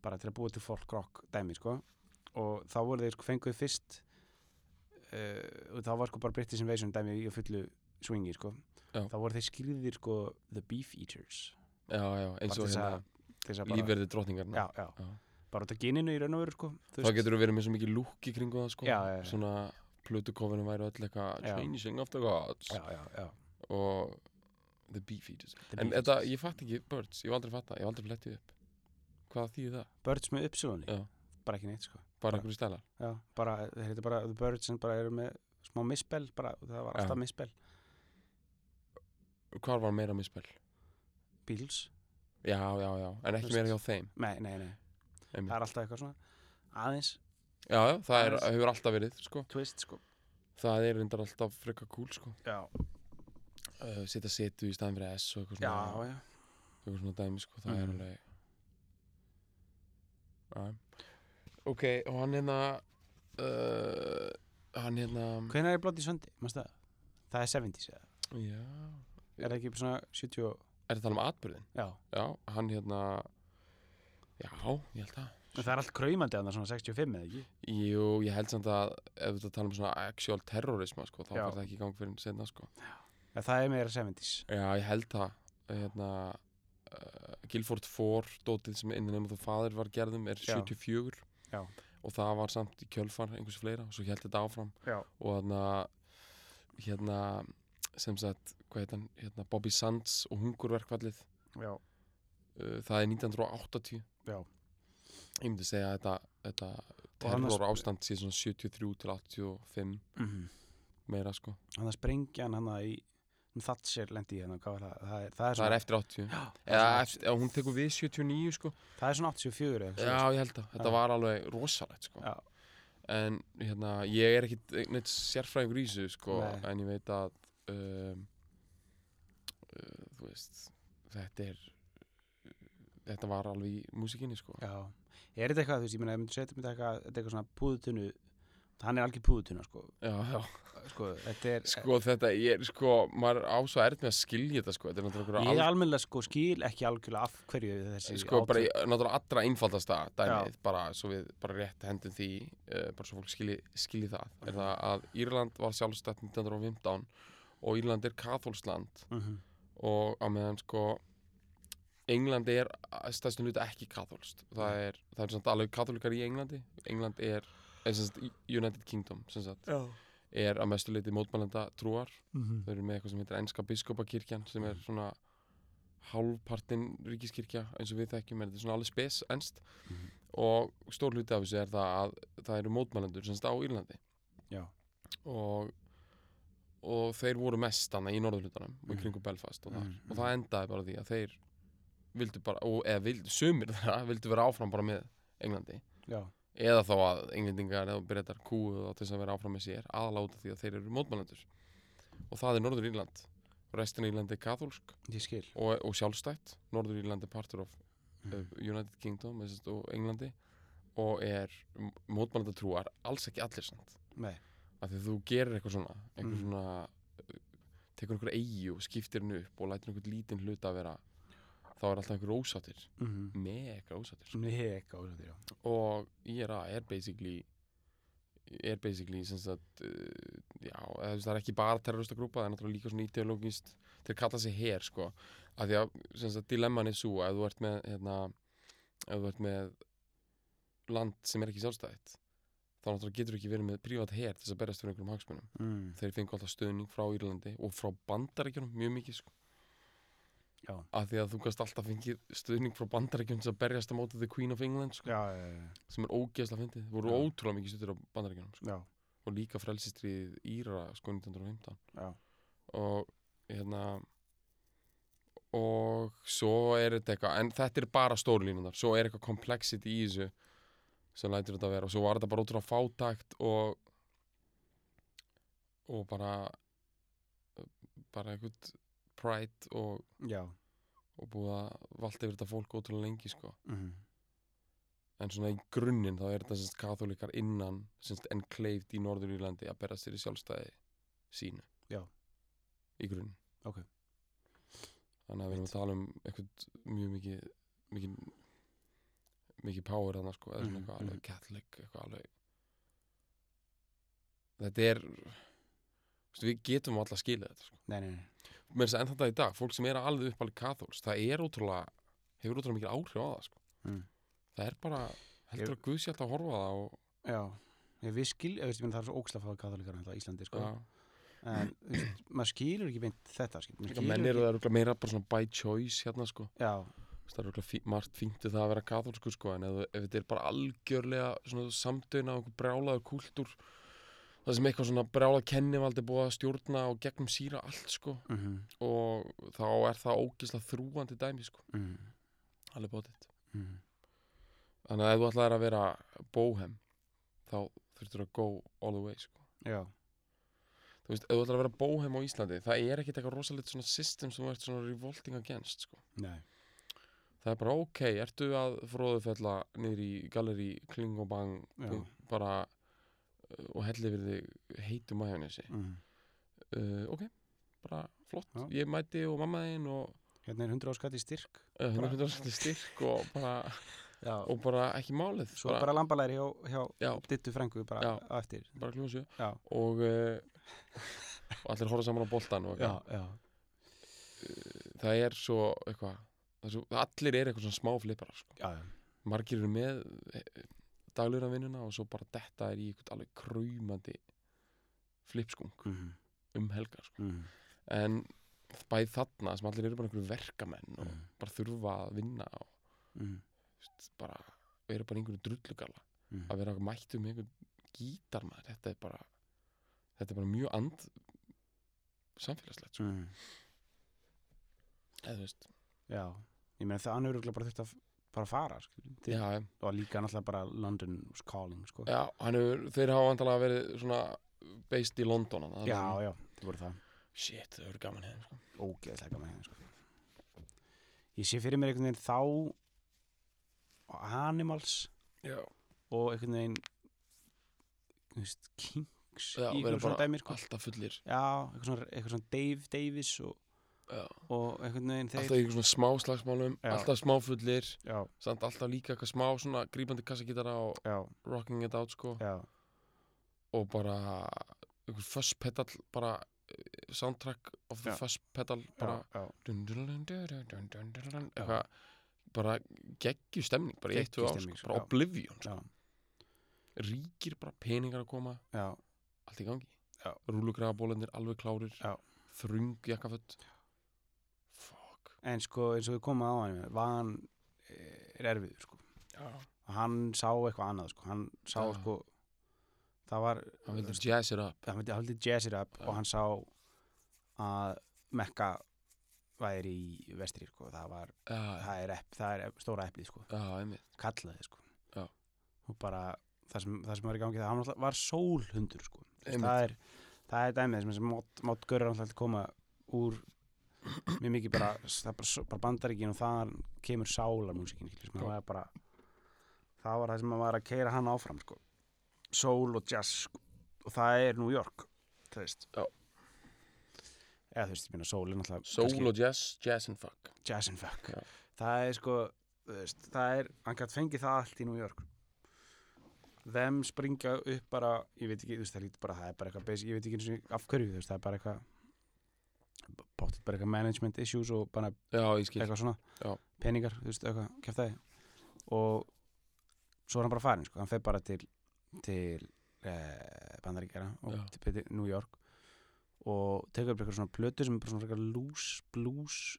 Speaker 1: bara til að búa til folk rock dæmi sko. og þá voru þeir sko, fenguð fyrst uh, og þá var sko bara British Invasion dæmi í fullu swingi sko.
Speaker 2: Já.
Speaker 1: þá voru þeir skýrðir sko, The Beef Eaters
Speaker 2: já, já, eins
Speaker 1: Bara til
Speaker 2: og
Speaker 1: þess að-
Speaker 2: hérna,
Speaker 1: til þess að bara,
Speaker 2: lífverði drottningarna.
Speaker 1: já, já,
Speaker 2: Já.
Speaker 1: bara út af geninu í raun og veru sko, þú
Speaker 2: þá
Speaker 1: veist.
Speaker 2: getur þú verið með svo mikið lúk í kringu það sko
Speaker 1: Já, já, já.
Speaker 2: svona plötukofinu væri öll eitthvað
Speaker 1: Já.
Speaker 2: changing of the gods
Speaker 1: já, já, já,
Speaker 2: og the beef eaters
Speaker 1: The
Speaker 2: en
Speaker 1: Beef
Speaker 2: þetta,
Speaker 1: Eaters.
Speaker 2: ég fatt ekki birds, ég hef aldrei fatt það, ég hef aldrei flettið upp hvað þýðir það?
Speaker 1: Birds með uppsöðunni
Speaker 2: Já.
Speaker 1: bara ekki neitt sko
Speaker 2: bara
Speaker 1: Bara-
Speaker 2: einhverju stælar
Speaker 1: Já, bara, þeir heitir bara The Birds sem bara eru með smá misspell bara, og það var
Speaker 2: Já.
Speaker 1: alltaf misspell
Speaker 2: hvar var meira misspel?
Speaker 1: Beatles,
Speaker 2: já, já, já, en ekki
Speaker 1: Þú
Speaker 2: meira hjá
Speaker 1: veist.
Speaker 2: þeim
Speaker 1: nei, nei, nei það
Speaker 2: einmitt.
Speaker 1: er alltaf eitthvað svona aðeins
Speaker 2: já, já, það er,
Speaker 1: Aðeins.
Speaker 2: hefur alltaf verið sko
Speaker 1: twist, sko
Speaker 2: það er reyndar alltaf frekar cool sko
Speaker 1: Já,
Speaker 2: uh, setja setu í staðan fyrir s og eitthvað
Speaker 1: já,
Speaker 2: svona,
Speaker 1: já
Speaker 2: eitthvað svona dæmi sko það
Speaker 1: Mhm.
Speaker 2: er alveg Æ. ok, og hann hérna uh, hann hérna
Speaker 1: Hvenær er Bloody Sunday, maður það? Það er 70s, eða?
Speaker 2: já,
Speaker 1: Er það ekki svona 70 og...
Speaker 2: er það tala um atbyrðin?
Speaker 1: Já,
Speaker 2: já, hann hérna já, ég held það
Speaker 1: en það er allt kraumandi að það svona 65 eða ekki
Speaker 2: jú, ég held samt að ef þú ert að tala um svona actual terrorisma sko, þá
Speaker 1: Já.
Speaker 2: fyrir það ekki í gang fyrir senna sko
Speaker 1: Já, það er meira 70s
Speaker 2: já, ég held það hérna Uh, Guilford 4 dótið sem innan nefnum þú faðir var gerðum er
Speaker 1: Já.
Speaker 2: 74
Speaker 1: Já.
Speaker 2: og það var samt í kjölfar einhvers fleira og svo held þetta áfram
Speaker 1: Já,
Speaker 2: og þarna hérna sem sagt hvað heit hann, hérna Bobby Sands og hungurverkvallið
Speaker 1: já,
Speaker 2: uh, það er 1980
Speaker 1: já
Speaker 2: ég myndi segja að þetta, þetta
Speaker 1: Og annars-
Speaker 2: terror ástand sé svona 73 til 85
Speaker 1: mm
Speaker 2: meira sko,
Speaker 1: Hann að sprengja hann hann að í Thatcher lendi í hérna, hvað var það? Það er, það er,
Speaker 2: það
Speaker 1: svona,
Speaker 2: er eftir 80
Speaker 1: Já, það
Speaker 2: eða
Speaker 1: er,
Speaker 2: eftir, eða hún tekur við 79 sko
Speaker 1: svona, það er svona 84 eða eitthvað
Speaker 2: já ég held það, þetta
Speaker 1: Já.
Speaker 2: var alveg rosalegt sko
Speaker 1: Já.
Speaker 2: en hérna ég er ekkit neitt sérfræðingur í þessu sko
Speaker 1: Nei.
Speaker 2: en ég veit að um, uh, þú veist þetta er þetta var alveg í músikinni sko
Speaker 1: Já, er þetta eitthvað, þú veist, ég meina, ég myndi setja mér þetta eitthvað, þetta er eitthvað svona púðutunu, hann er algjör púðutuna, sko,
Speaker 2: já, já.
Speaker 1: sko, þetta er,
Speaker 2: sko þetta er sko maður á svo erfitt með að skilja þetta sko þetta er náttúrulega
Speaker 1: ég
Speaker 2: einhverja
Speaker 1: er almennilega, sko, skil ekki algjörlega af hverju þessi
Speaker 2: sko bara í,
Speaker 1: átök-
Speaker 2: náttúrulega allra einfaldasta dæmið bara svo við bara rétt hendum því uh, bara svo fólk skilji, skilji það er það að Írland var sjálfstætt 1915 og Írland er katholsland
Speaker 1: Mhm,
Speaker 2: og á meðan sko England er að stæðstum hluta ekki katholst það er, það er samt alveg katholikar í Englandi England er, er sem sagt, United Kingdom sem sagt, er að mestu leiti mótmælenda trúar
Speaker 1: mhm,
Speaker 2: þau eru með eitthvað sem heitir Enska Biskopakirkjan sem
Speaker 1: Mm.
Speaker 2: er svona hálfpartinn ríkiskirkja eins og við þekkjum er þetta er svona alveg spes enst
Speaker 1: Mhm.
Speaker 2: og stór hluti af þessu er það að það eru mótmælendur sem stá á Írlandi
Speaker 1: Já.
Speaker 2: og, og þeir voru mest annað í norðurhlutanum og í
Speaker 1: Mhm.
Speaker 2: kringum Belfast og, þar.
Speaker 1: Mhm,
Speaker 2: og það endaði bara á því að þeir vildu bara, og, eða vildu, sumir þeirra vildu vera áfram bara með Englandi
Speaker 1: já,
Speaker 2: eða þá að englendingar eða breytar kúið og til þess að vera áfram með sér aðláta því að þeir eru mótmælendur og það er Norður Írland restin af Írlandi er katholsk
Speaker 1: ég skil,
Speaker 2: og, og sjálfstætt Norður Írland er partur af
Speaker 1: Mhm.
Speaker 2: mm. United Kingdom eða sem sagt, og Englandi og er mótmælenda trúar alls ekki allir samt
Speaker 1: nei,
Speaker 2: af því að þú gerir eitthvað svona eitthvað
Speaker 1: Mhm.
Speaker 2: svona uh, tekur einhver eigi og skiptir henni upp og lætir einhvern lítinn hluta að vera þá er alltaf einhver ósáttir
Speaker 1: mhm,
Speaker 2: mega ósáttir sko
Speaker 1: nei, ekki áhugað, já,
Speaker 2: og IRA er basically er basically sem sagt uh, já, eða, þú veist, það er ekki bara terroristagrúpa, það er náttúrulega líka svona ideologist þeir kalla sig her, sko af því að, sem sagt, dilemman er svo ef þú ert með, hérna ef þú ert með land sem er ekki sjálfstætt þá náttúrulega getur þú ekki verið með prívat her til þess að berast fyrir einhverjum hagsmunum
Speaker 1: mm.
Speaker 2: þeir fengu alltaf stöðning frá Írlandi og frá bandaríkjunum mjög mikið sko
Speaker 1: Já.
Speaker 2: af því að þú gast alltaf fengið stöðning frá bandaríkjunum sem berjast á móti The Queen of England sko,
Speaker 1: já, já, já,
Speaker 2: sem er ógeðslega fyndið Þeir voru
Speaker 1: Já.
Speaker 2: ótrúlega mikið stöður á bandaríkjunum sko.
Speaker 1: já,
Speaker 2: og líka frelsistrið Íra sko 1915
Speaker 1: já.
Speaker 2: og hérna og svo er þetta eitthvað en þetta er bara stórlínunar, svo er eitthvað komplexit í þessu sem lætur þetta vera og svo var þetta bara ótrúlega fátækt og og bara bara einhvern pride og,
Speaker 1: já.
Speaker 2: og búið að valda yfir þetta fólk ótrúlega lengi sko
Speaker 1: Mm.
Speaker 2: en svona í grunninn þá er þetta semst katholikar innan semst enkleift í Norður Írlandi að berast sér í sjálfstæði sínu
Speaker 1: Já.
Speaker 2: í grunninn
Speaker 1: Ok.
Speaker 2: þannig að við erum að tala um eitthvað mjög mikið mikið mikið power þannig sko eða svona
Speaker 1: Mhm,
Speaker 2: eitthvað
Speaker 1: mhm.
Speaker 2: alveg catholic eitthvað alveg þetta er veistu, við getum alltaf skilið þetta sko
Speaker 1: Nei, nei, nei
Speaker 2: mér er þess að enn þetta í dag, fólk sem er alveg uppalið kathols það er ótrúlega, hefur ótrúlega mikið áhrif á það sko.
Speaker 1: Mm.
Speaker 2: það er bara heldur að Guð sé alltaf að horfa á það og,
Speaker 1: Já, ég, við skil, ég veist, ég meina það er svo ókslega fáið katholikar hérna á Íslandi, sko
Speaker 2: já,
Speaker 1: En, þú veist, maður skilur ekki beint þetta, skil maður
Speaker 2: líka
Speaker 1: skilur
Speaker 2: menn eru
Speaker 1: ekki-
Speaker 2: það örugglega meira bara svona by choice hérna sko
Speaker 1: Já,
Speaker 2: Þú veist, það er örugglega fí margt fínt við það að vera katholsku sko en ef, þú- ef þetta er bara algjörlega svona samdöina og brjálaður kúltúr það sem eitthvað svona brjálað kennivaldi búið að stjórna og gegnum síra allt sko
Speaker 1: mhm,
Speaker 2: og þá er það ógislega þrúandi dæmi sko,
Speaker 1: mhm,
Speaker 2: alveg bótið
Speaker 1: mhm
Speaker 2: Þannig að ef þú ætlaðir að vera bóhem þá þurftur að go all the way sko.
Speaker 1: Já,
Speaker 2: Þú veist, ef þú ætlaðir að vera bóhem á Íslandi það er ekkit eitthvað rosalegt svona system sem þú ert svona revolting against sko.
Speaker 1: nei,
Speaker 2: Það er bara ok, ertu að fróðufella niður í galleri klingobang
Speaker 1: já,
Speaker 2: bara uh, og helli við þig heitu majónesi
Speaker 1: mhm
Speaker 2: uh, Ok, bara flott
Speaker 1: Já.
Speaker 2: Ég mæti og mamma þín og
Speaker 1: Hérna er 100 áskatt í styrk
Speaker 2: uh,
Speaker 1: Bara-
Speaker 2: hún er styrk og bara,
Speaker 1: Já
Speaker 2: og bara ekki málið
Speaker 1: Svo bara, bara lambalæri hjá, hjá
Speaker 2: Já.
Speaker 1: Dittu frængu bara
Speaker 2: Já.
Speaker 1: á eftir
Speaker 2: bara kljóðum sjö
Speaker 1: Já.
Speaker 2: og, uh, og allir horfa saman á boltan og eitthvað.
Speaker 1: já
Speaker 2: það er svo eitthvað það er svo, allir eru eitthvað svona smá fliparar sko.
Speaker 1: Já, já,
Speaker 2: margir eru með daglurna vinnuna og svo bara detta er í eitthvað alveg krumandi flipskung
Speaker 1: mhm,
Speaker 2: um helgar sko.
Speaker 1: mhm
Speaker 2: en bæði þarna sem allir eru bara einhverju verkamenn og
Speaker 1: Mhm.
Speaker 2: bara þurfa að vinna og
Speaker 1: mhm,
Speaker 2: veist, bara eru bara í einhverju drullugala
Speaker 1: mhm.
Speaker 2: að vera mættu með einhverjum gítarmaður þetta er bara þetta er bara mjög and samfélagslegt sko.
Speaker 1: Mhm.
Speaker 2: eða þú veist
Speaker 1: Já, ég meina það hann hefur örugglega bara þurft að bara fara skil, til,
Speaker 2: já, já.
Speaker 1: og líka náttúrulega bara London was calling sko.
Speaker 2: Já, hann hefur, þeir hafa vandalega verið svona based í London hann,
Speaker 1: já, já, það voru það
Speaker 2: Shit, það verður gaman hefðum sko.
Speaker 1: ógeðslega gaman hérna sko. ég sé fyrir mér einhvern veginn þá og Animals
Speaker 2: Já,
Speaker 1: og einhvern veginn þú veist, Kings í
Speaker 2: Já, verður
Speaker 1: einhverjum svona
Speaker 2: bara
Speaker 1: dæmi sko.
Speaker 2: alltaf fullir
Speaker 1: já, eitthvað svona, eitthvað svona Dave Davis og,
Speaker 2: Já.
Speaker 1: og einhvern veginn þeir
Speaker 2: Alltaf í einhver svona smá slagsmálum
Speaker 1: Já.
Speaker 2: Alltaf smá fullir
Speaker 1: já,
Speaker 2: Samt alltaf líka eitthvað smá svona grípandi kassagítara og
Speaker 1: já,
Speaker 2: rocking it out sko
Speaker 1: já,
Speaker 2: Og bara einhver fuss pedal bara eh, soundtrack of the
Speaker 1: Já.
Speaker 2: fuss pedal
Speaker 1: já,
Speaker 2: bara
Speaker 1: já.
Speaker 2: dun, dun, dun, dun, dun, dun, dun, dun, dun, eitthvað bara geggju stemning bara í eitt og á sko,
Speaker 1: Geggjustemning, sko,
Speaker 2: bara
Speaker 1: já.
Speaker 2: oblivion
Speaker 1: Já.
Speaker 2: sko. ríkir bara peningar að koma
Speaker 1: já.
Speaker 2: allt í gangi
Speaker 1: Já.
Speaker 2: rúlugræðabólendir alveg klárir
Speaker 1: Já.
Speaker 2: þrung jakkafött fuck
Speaker 1: en sko eins og við komum að á hann van eh, er erfiður sko.
Speaker 2: já.
Speaker 1: og hann sá eitthvað annað sko. hann sá
Speaker 2: Já.
Speaker 1: sko það var
Speaker 2: hann vildi jazz it up
Speaker 1: hann vildi, hann vildi jazz it up
Speaker 2: Já.
Speaker 1: og hann sá að Mekka væri í vestri sko. það, var,
Speaker 2: já,
Speaker 1: það, er epp, það er epp, stóra eplið sko.
Speaker 2: já, einmitt
Speaker 1: kallaði sko.
Speaker 2: Já.
Speaker 1: og bara það sem, það sem var í gangi það hann náttúrulega var sólhundur sko. Þú veist,
Speaker 2: Einmitt.
Speaker 1: það, er, það er dæmið sem- sem mátt, mátt görur alltaf koma úr mjög mikið bara, það er bara, s- bara bandaríkin og þaðan kemur sálarmúsikin sko. það
Speaker 2: Já.
Speaker 1: var bara það var það sem maður var að keira hann áfram sko. sól og jazz sko. og það er New York þú veist
Speaker 2: Já.
Speaker 1: eða þú veist, ég minna sól er náttúrulega kannski-
Speaker 2: soul og jazz, jazz and fuck
Speaker 1: jazz and fuck
Speaker 2: Já.
Speaker 1: það er sko þú veist, það er, hann gætt fengið það allt í New York þeim springa upp bara ég veit ekki, þú veist, það lítur bara það er bara eitthvað basic, ég veit ekki einu sinni af hverju, þú veist, það er bara eitthvað bóttið bara eitthvað management issues og bara
Speaker 2: já, ég skil
Speaker 1: eitthvað svona,
Speaker 2: Já.
Speaker 1: peningar, þú veist, eitthvað kæftæði og svo er hann bara farin, sko, hann fer bara til til eh, bandaríkjara og
Speaker 2: Já.
Speaker 1: til, til New York og tekur upp eitthvað svona plötu sem er bara svona eitthvað loose, blues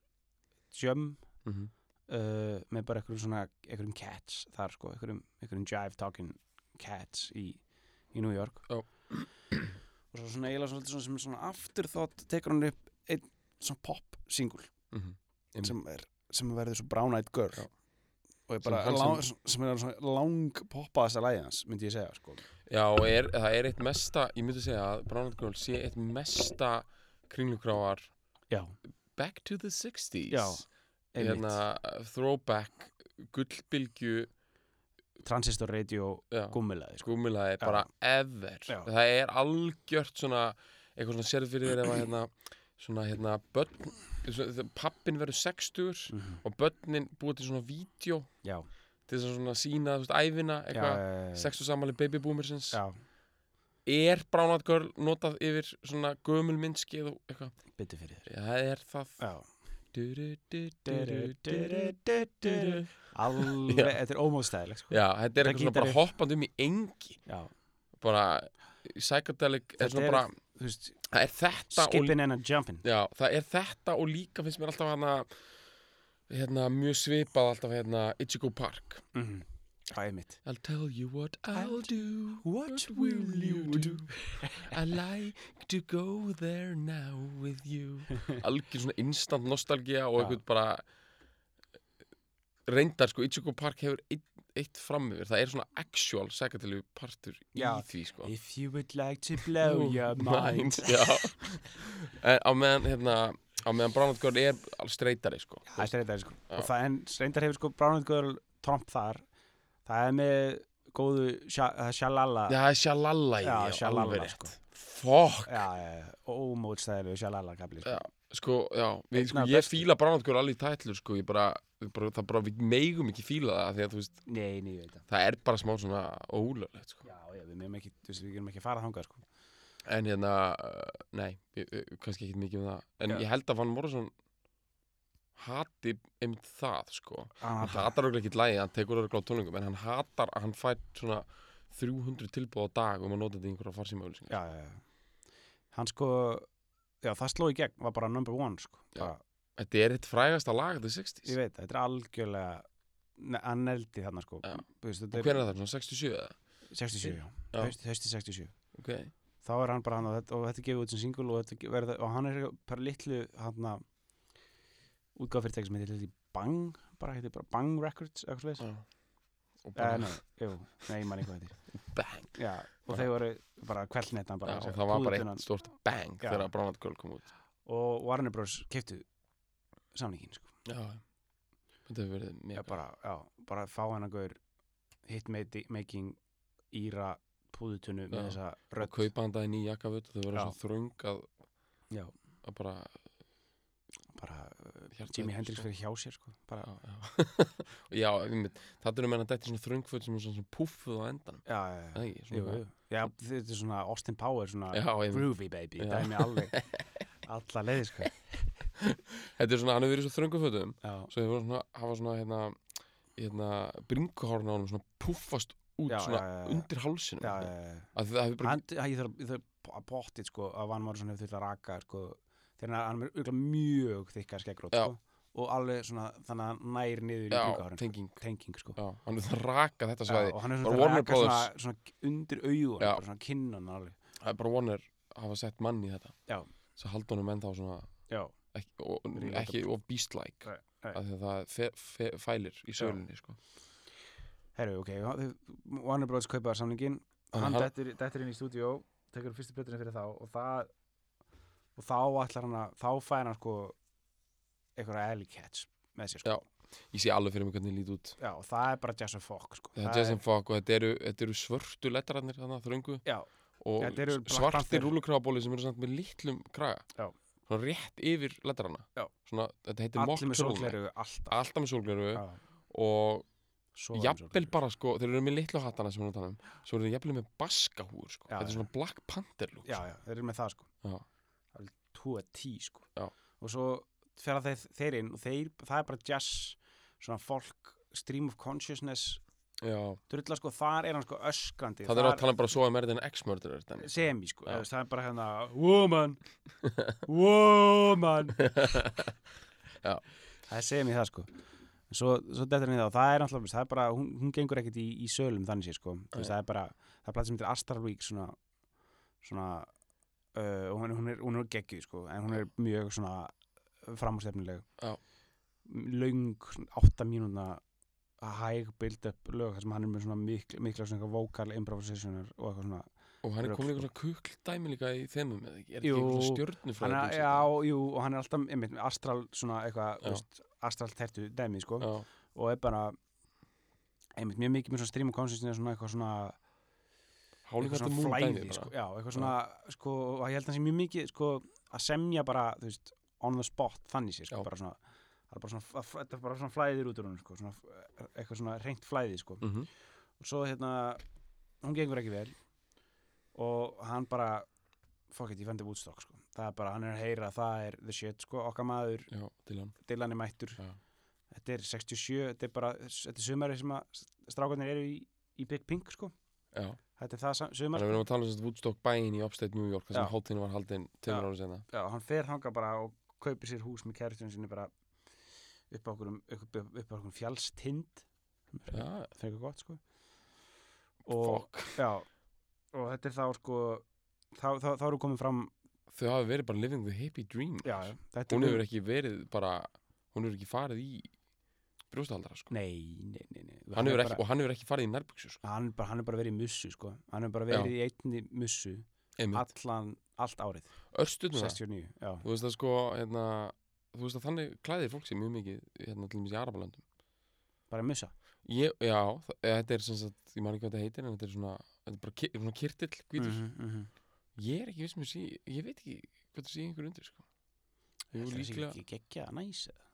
Speaker 1: jam
Speaker 2: mm -hmm.
Speaker 1: uh, með bara einhverjum svona einhverjum cats þar sko, einhverjum, einhverjum jive talking cats í, í New York
Speaker 2: Já.
Speaker 1: og svo svona eiginlega svolítið svona sem er svona aftur þátt tekur hann upp einn svona pop single
Speaker 2: Mm Einmitt.
Speaker 1: sem, er, sem verður svo brown eyed girl
Speaker 2: Já.
Speaker 1: og er bara
Speaker 2: Sem hann
Speaker 1: lang, sem er svona lang poppaðasta lagið hans myndi ég segja sko
Speaker 2: já, og er, það er eitt mesta ég myndi segja að Brown Eyed Girl sé eitt mesta kringlugráar
Speaker 1: já,
Speaker 2: back to the 60s
Speaker 1: já einmitt,
Speaker 2: hérna, throwback gullbylgju
Speaker 1: transistor radio
Speaker 2: já,
Speaker 1: gummilaði sko.
Speaker 2: gúmilaði bara ever
Speaker 1: Já.
Speaker 2: það er algjört svona eitthvað svona sérð fyrir þér ef að hérna svona hérna börn svona, pappin verður 60
Speaker 1: mm
Speaker 2: og börnin búið til svona vídeo
Speaker 1: já,
Speaker 2: til þess að svona sína þú veist ævina
Speaker 1: já,
Speaker 2: eitthvað
Speaker 1: eh,
Speaker 2: sextu samanlega baby boomersins
Speaker 1: já,
Speaker 2: er Brown Eyed Girl notað yfir svona gömul minnskið og eitthvað
Speaker 1: byttu fyrir þér
Speaker 2: Já, það er það
Speaker 1: já
Speaker 2: du, du, du, du, du, du, du,
Speaker 1: Du-du-du-du-du-du.
Speaker 2: du.
Speaker 1: Alveg,
Speaker 2: Já.
Speaker 1: þetta er ómóðstæðilegt sko.
Speaker 2: Já, þetta er
Speaker 1: Það
Speaker 2: eitthvað svona bara
Speaker 1: gítarriff.
Speaker 2: hoppandi um í engi
Speaker 1: Já.
Speaker 2: bara psychedelic er
Speaker 1: Þetta
Speaker 2: svona
Speaker 1: er
Speaker 2: bara,
Speaker 1: Þú veist,
Speaker 2: það er þetta og
Speaker 1: skipping and a jumping
Speaker 2: Já, það er þetta og líka finnst mér alltaf hana hérna, mjög svipað alltaf hérna Ichigo Park
Speaker 1: Mhm. Það er mitt
Speaker 2: I'll tell you what I'll do
Speaker 1: What
Speaker 2: I like to go there now with you Algjör svona instant nostalgía og
Speaker 1: Já.
Speaker 2: eitthvað bara reyndar sko, Ichigo Park hefur eitt, eitt framöfur, það er svona actual sækartilegu partur í
Speaker 1: Já.
Speaker 2: því sko
Speaker 1: If you would like to blow
Speaker 2: Oh
Speaker 1: your mind
Speaker 2: Já En á meðan, hérna, á meðan Brown Eyed Girl er alveg streytari, sko
Speaker 1: Það er streyndar sko.
Speaker 2: Já.
Speaker 1: Og það en streyndar hefur sko Brown Girl Trump þar Það er með góðu sha- það er shalala
Speaker 2: Já, það er sjalala í
Speaker 1: Já,
Speaker 2: því,
Speaker 1: Shalala,
Speaker 2: alveg rétt
Speaker 1: sko.
Speaker 2: Fuck
Speaker 1: já, já ómóðstæðilegu shalala kapli sko.
Speaker 2: Já. Sko, já, við, sko,
Speaker 1: Einna
Speaker 2: ég
Speaker 1: bestu.
Speaker 2: fíla Brown Eyed Girl alveg í tætlur, sko Ég bara, við bara, það bara, við megum ekki fíla það af Því að, þú veist,
Speaker 1: Nei, nei, ég veit það
Speaker 2: það er bara smá svona ólöflegt, sko
Speaker 1: Já, já, við meðum ekki, þú veist, við gerum ekki að fara þangað sko.
Speaker 2: En hérna, uh, nei, ég, ég, kannski ekkit mikið um það En
Speaker 1: Já.
Speaker 2: ég held að Van Morrison hati einmitt það, sko
Speaker 1: Hann
Speaker 2: hann
Speaker 1: hatar-
Speaker 2: hatar auðvitað ekki lægið, hann tekur auðvitað á tónlingum en hann hatar að hann fær svona 300 tilbúð á dag um að nota þetta í einhverja farsímaauðlýsingar
Speaker 1: já, já, já Hann sko, já, það sló í gegn Var bara number one sko.
Speaker 2: Já.
Speaker 1: bara,
Speaker 2: Þetta er eitt frægasta lag þetta er 60s
Speaker 1: Ég veit það, þetta er algjörlega ne- að neldi þarna sko
Speaker 2: Já.
Speaker 1: Þú veist,
Speaker 2: Og
Speaker 1: þetta
Speaker 2: hvernig er það, svona 67 eða?
Speaker 1: 67, já,
Speaker 2: Já.
Speaker 1: Haust, hausti 67
Speaker 2: Ok,
Speaker 1: þá er hann bara hann og þetta, og þetta er gefið út sem single og, þetta, verða, og hann er bara litlu hann að útgáð fyrirtæk sem heitir litli Bang bara heitir bara Bang Records eitthvað sliðis
Speaker 2: já Og
Speaker 1: eh,
Speaker 2: bara,
Speaker 1: nei, jú, nei, ég man ekki hvað þetta
Speaker 2: bang
Speaker 1: er já, og
Speaker 2: Bara-
Speaker 1: þeir voru bara kvellnettan
Speaker 2: já,
Speaker 1: bara
Speaker 2: Og það var bara
Speaker 1: púðutunnan.
Speaker 2: eitt stort bang
Speaker 1: Já.
Speaker 2: þegar Brown Eyed Girl kom út
Speaker 1: og Warner Bros. keftu samningin sko.
Speaker 2: Já, þetta hefur verið
Speaker 1: já,
Speaker 2: mega
Speaker 1: bara, já, bara fá hann að gaur hitmaking íra púðutunnu með
Speaker 2: Já.
Speaker 1: þessa
Speaker 2: Og
Speaker 1: rödd
Speaker 2: kaupa hann það í nýja jakkaföt og þau verið
Speaker 1: Já.
Speaker 2: svona þröng að,
Speaker 1: Já.
Speaker 2: að bara
Speaker 1: bara uh,
Speaker 2: Hjartað
Speaker 1: Jimi
Speaker 2: er
Speaker 1: Hendrix
Speaker 2: svo-
Speaker 1: fyrir hjá sér sko. bara,
Speaker 2: Já, já, já það er um henni að þetta er svona þröngföt sem er svona púffuð á endanum
Speaker 1: já, já,
Speaker 2: Eða ekki,
Speaker 1: já, jú,
Speaker 2: svona-
Speaker 1: jú. já, þetta er svona Austin Power svona
Speaker 2: Já, einmitt.
Speaker 1: groovy baby,
Speaker 2: Já.
Speaker 1: dæmi alveg alla leiði sko.
Speaker 2: Þetta er svona, hann hefur verið í svo þröngum fötum
Speaker 1: já,
Speaker 2: Svo hefur hann svona, hafa svona hérna, hérna, bringuhárn á hann Svona puffast út
Speaker 1: Já,
Speaker 2: svona
Speaker 1: já, já, já.
Speaker 2: undir hálsinum
Speaker 1: já,
Speaker 2: Að
Speaker 1: já, já.
Speaker 2: það hefur bara,
Speaker 1: Hann, hann, ég þarf ég þarf að pottið sko, að Van Morrison hefur þurft að raka sko, þegar hann- hann er örugglega mjög þykka skeggrót
Speaker 2: Já.
Speaker 1: sko, og alveg svona þannig að hann nær niður í
Speaker 2: já,
Speaker 1: byggárin
Speaker 2: tenging
Speaker 1: tenging sko
Speaker 2: Já, hann er það að raka þetta
Speaker 1: Já,
Speaker 2: svæði
Speaker 1: og hann er
Speaker 2: Bara
Speaker 1: svona að
Speaker 2: Warner
Speaker 1: raka svona, svona undir augun
Speaker 2: Já.
Speaker 1: bara svona kinnan alveg
Speaker 2: Það er bara Warner hafa sett mann í þetta
Speaker 1: Já.
Speaker 2: Svo haldi honum ennþá svona
Speaker 1: já,
Speaker 2: Ekki, og,
Speaker 1: Relatable.
Speaker 2: ekki of beast-like
Speaker 1: Nei, nei.
Speaker 2: Af því að það fe, fe, fælir í sölunni sko.
Speaker 1: herru, ok, Warner Bros. kaupaðar samningin hann
Speaker 2: Þannig að
Speaker 1: dettur, dettur inn í stúdíó tekur fyrstu plötuna fyrir þá og það og þá ætlar hann að þá fær hann sko einhverja alley catch með sér sko.
Speaker 2: Já. Ég sé alveg fyrir mig hvernig ég lít út
Speaker 1: já, og það er bara Jason Fock sko.
Speaker 2: Þetta
Speaker 1: Það
Speaker 2: er Jason Fock og þetta eru, þetta eru svörtu lettararnir þannig að þröngu
Speaker 1: Já.
Speaker 2: og
Speaker 1: Þetta eru Black
Speaker 2: svartir
Speaker 1: Panther.
Speaker 2: rúlukráabóli sem eru samt með litlum kraga
Speaker 1: Já.
Speaker 2: svona rétt yfir lettarana
Speaker 1: Já.
Speaker 2: svona, þetta heitir
Speaker 1: allir
Speaker 2: mock
Speaker 1: með
Speaker 2: turtleneck.
Speaker 1: sólgleru alltaf
Speaker 2: alltaf með sólgleru
Speaker 1: Já.
Speaker 2: og
Speaker 1: Svo var hann
Speaker 2: jafnvel
Speaker 1: svolítið.
Speaker 2: bara sko, þeir eru með litlu hattana sem við erum að tala um svo eru þeir jafnvel með baskahúr sko.
Speaker 1: Já,
Speaker 2: þetta er
Speaker 1: já.
Speaker 2: svona Black Panther lúk
Speaker 1: Já, já, þeir eru með það sko
Speaker 2: Já.
Speaker 1: Alveg 2 að 10 sko
Speaker 2: Já.
Speaker 1: Og svo fer þeir, þeir inn og þeir, það er bara jazz Svona folk, stream of consciousness
Speaker 2: Já.
Speaker 1: Drulla sko, þar er hann sko öskrandi
Speaker 2: það er að tala um bara svo að merðin X-murderer dæmi.
Speaker 1: Semi sko,
Speaker 2: Já.
Speaker 1: eða, þú veist, það er bara hérna Woman, woman
Speaker 2: Já.
Speaker 1: Það er semi það sko En Svo, svo dettur henni þá, það er náttúrulega, þú veist, það er bara, hún, hún gengur ekkert í, í sölum þannig sér sko, þú veist,
Speaker 2: Nei.
Speaker 1: það er bara, það er platt sem heitir Astral Week svona, svona, uh, og hún, hún er, hún er geggjuð sko, en hún er mjög svona framústefnileg.
Speaker 2: Já.
Speaker 1: Laung, svona átta mínúna, hæg build-up lög, þar sem hann er með svona mikla, mikla svona eitthvað vocal improvisationer og eitthvað svona,
Speaker 2: og hann er
Speaker 1: Rögl, sko.
Speaker 2: komin eitthvað svona kukldæmi líka í þeimum eða ekki, er
Speaker 1: Jú.
Speaker 2: ekki eitthvað
Speaker 1: hann
Speaker 2: stjörnufræði
Speaker 1: er, já, jú, og hann er alltaf, einmitt, með Astral svona eitthvað,
Speaker 2: Já.
Speaker 1: þú veist, Astral tertu dæmi sko.
Speaker 2: já,
Speaker 1: og er bara einmitt mjög mikið með svona stream og consciousness svona eitthvað svona, eitthvað
Speaker 2: hálfum þetta
Speaker 1: svona
Speaker 2: múl
Speaker 1: flæði
Speaker 2: dæmi bara.
Speaker 1: sko, já, eitthvað svona, sko, og ég held að það sé mjög mikið sko, að semja bara, þú veist on the spot, þannig sér, sko,
Speaker 2: Já.
Speaker 1: bara svona það er bara svona, að- þetta er bara svona flæðir út úr hún sko, svona, eitthvað svona reynt flæði, sko
Speaker 2: Mhm.
Speaker 1: og svo, hérna, hún gengur ekki vel og hann bara fuck it, ég fendi Woodstock, sko það er bara, hann er að heyra, það er the shit, sko okkar maður,
Speaker 2: já, til hann
Speaker 1: Dylan er mættur
Speaker 2: Já.
Speaker 1: þetta er 67, þetta er bara þetta er sumari sem að strákarnir eru í, í Big Pink, sko
Speaker 2: já,
Speaker 1: þetta er það sam- sumar,
Speaker 2: þannig að við erum að tala um þess að Woodstock bæinn í Upstate New York þar sem
Speaker 1: Já.
Speaker 2: hátíðin var
Speaker 1: Já.
Speaker 2: haldin tveimur ára sena
Speaker 1: já, hann fer þangað bara og kaupir sér hús með kæristun sinni bara upp á okkur, upp, upp á okkur fjallstind
Speaker 2: já,
Speaker 1: frekar gott sko og,
Speaker 2: fuck
Speaker 1: já, og þetta er þá sko þá, þá, þá eru komin fram
Speaker 2: þau hafi verið bara living the hippie dream
Speaker 1: já, já, þetta
Speaker 2: hún
Speaker 1: er
Speaker 2: hefur ekki verið bara hún hefur ekki farið í brjóstahaldara sko.
Speaker 1: nei, nei, nei, nei.
Speaker 2: hann hefur
Speaker 1: er
Speaker 2: ekki,
Speaker 1: bara,
Speaker 2: og hann hefur ekki farið í nærbuksu sko.
Speaker 1: hann, er bara, hann er bara verið í mussu sko hann er bara
Speaker 2: Já.
Speaker 1: verið í einni mussu
Speaker 2: einmitt,
Speaker 1: allan, allt árið,
Speaker 2: örstuðna
Speaker 1: 69 já,
Speaker 2: þú veist að sko hérna, þú veist að þannig klæðir fólk sér mjög mikið hérna til dæmis í Arabalöndum
Speaker 1: bara mussa
Speaker 2: ég, já, þa- eða þetta er sem sagt ég maður ekki hvað þetta heitir en þetta er svona þetta er bara ki- svona kirtill hvítur
Speaker 1: Mhm, mhm.
Speaker 2: ég er ekki viss með sí, ég veit ekki hvað það sé einhver undir sko. jú,
Speaker 1: Ætli það sé
Speaker 2: líklega,
Speaker 1: ekki geggja, næs eða?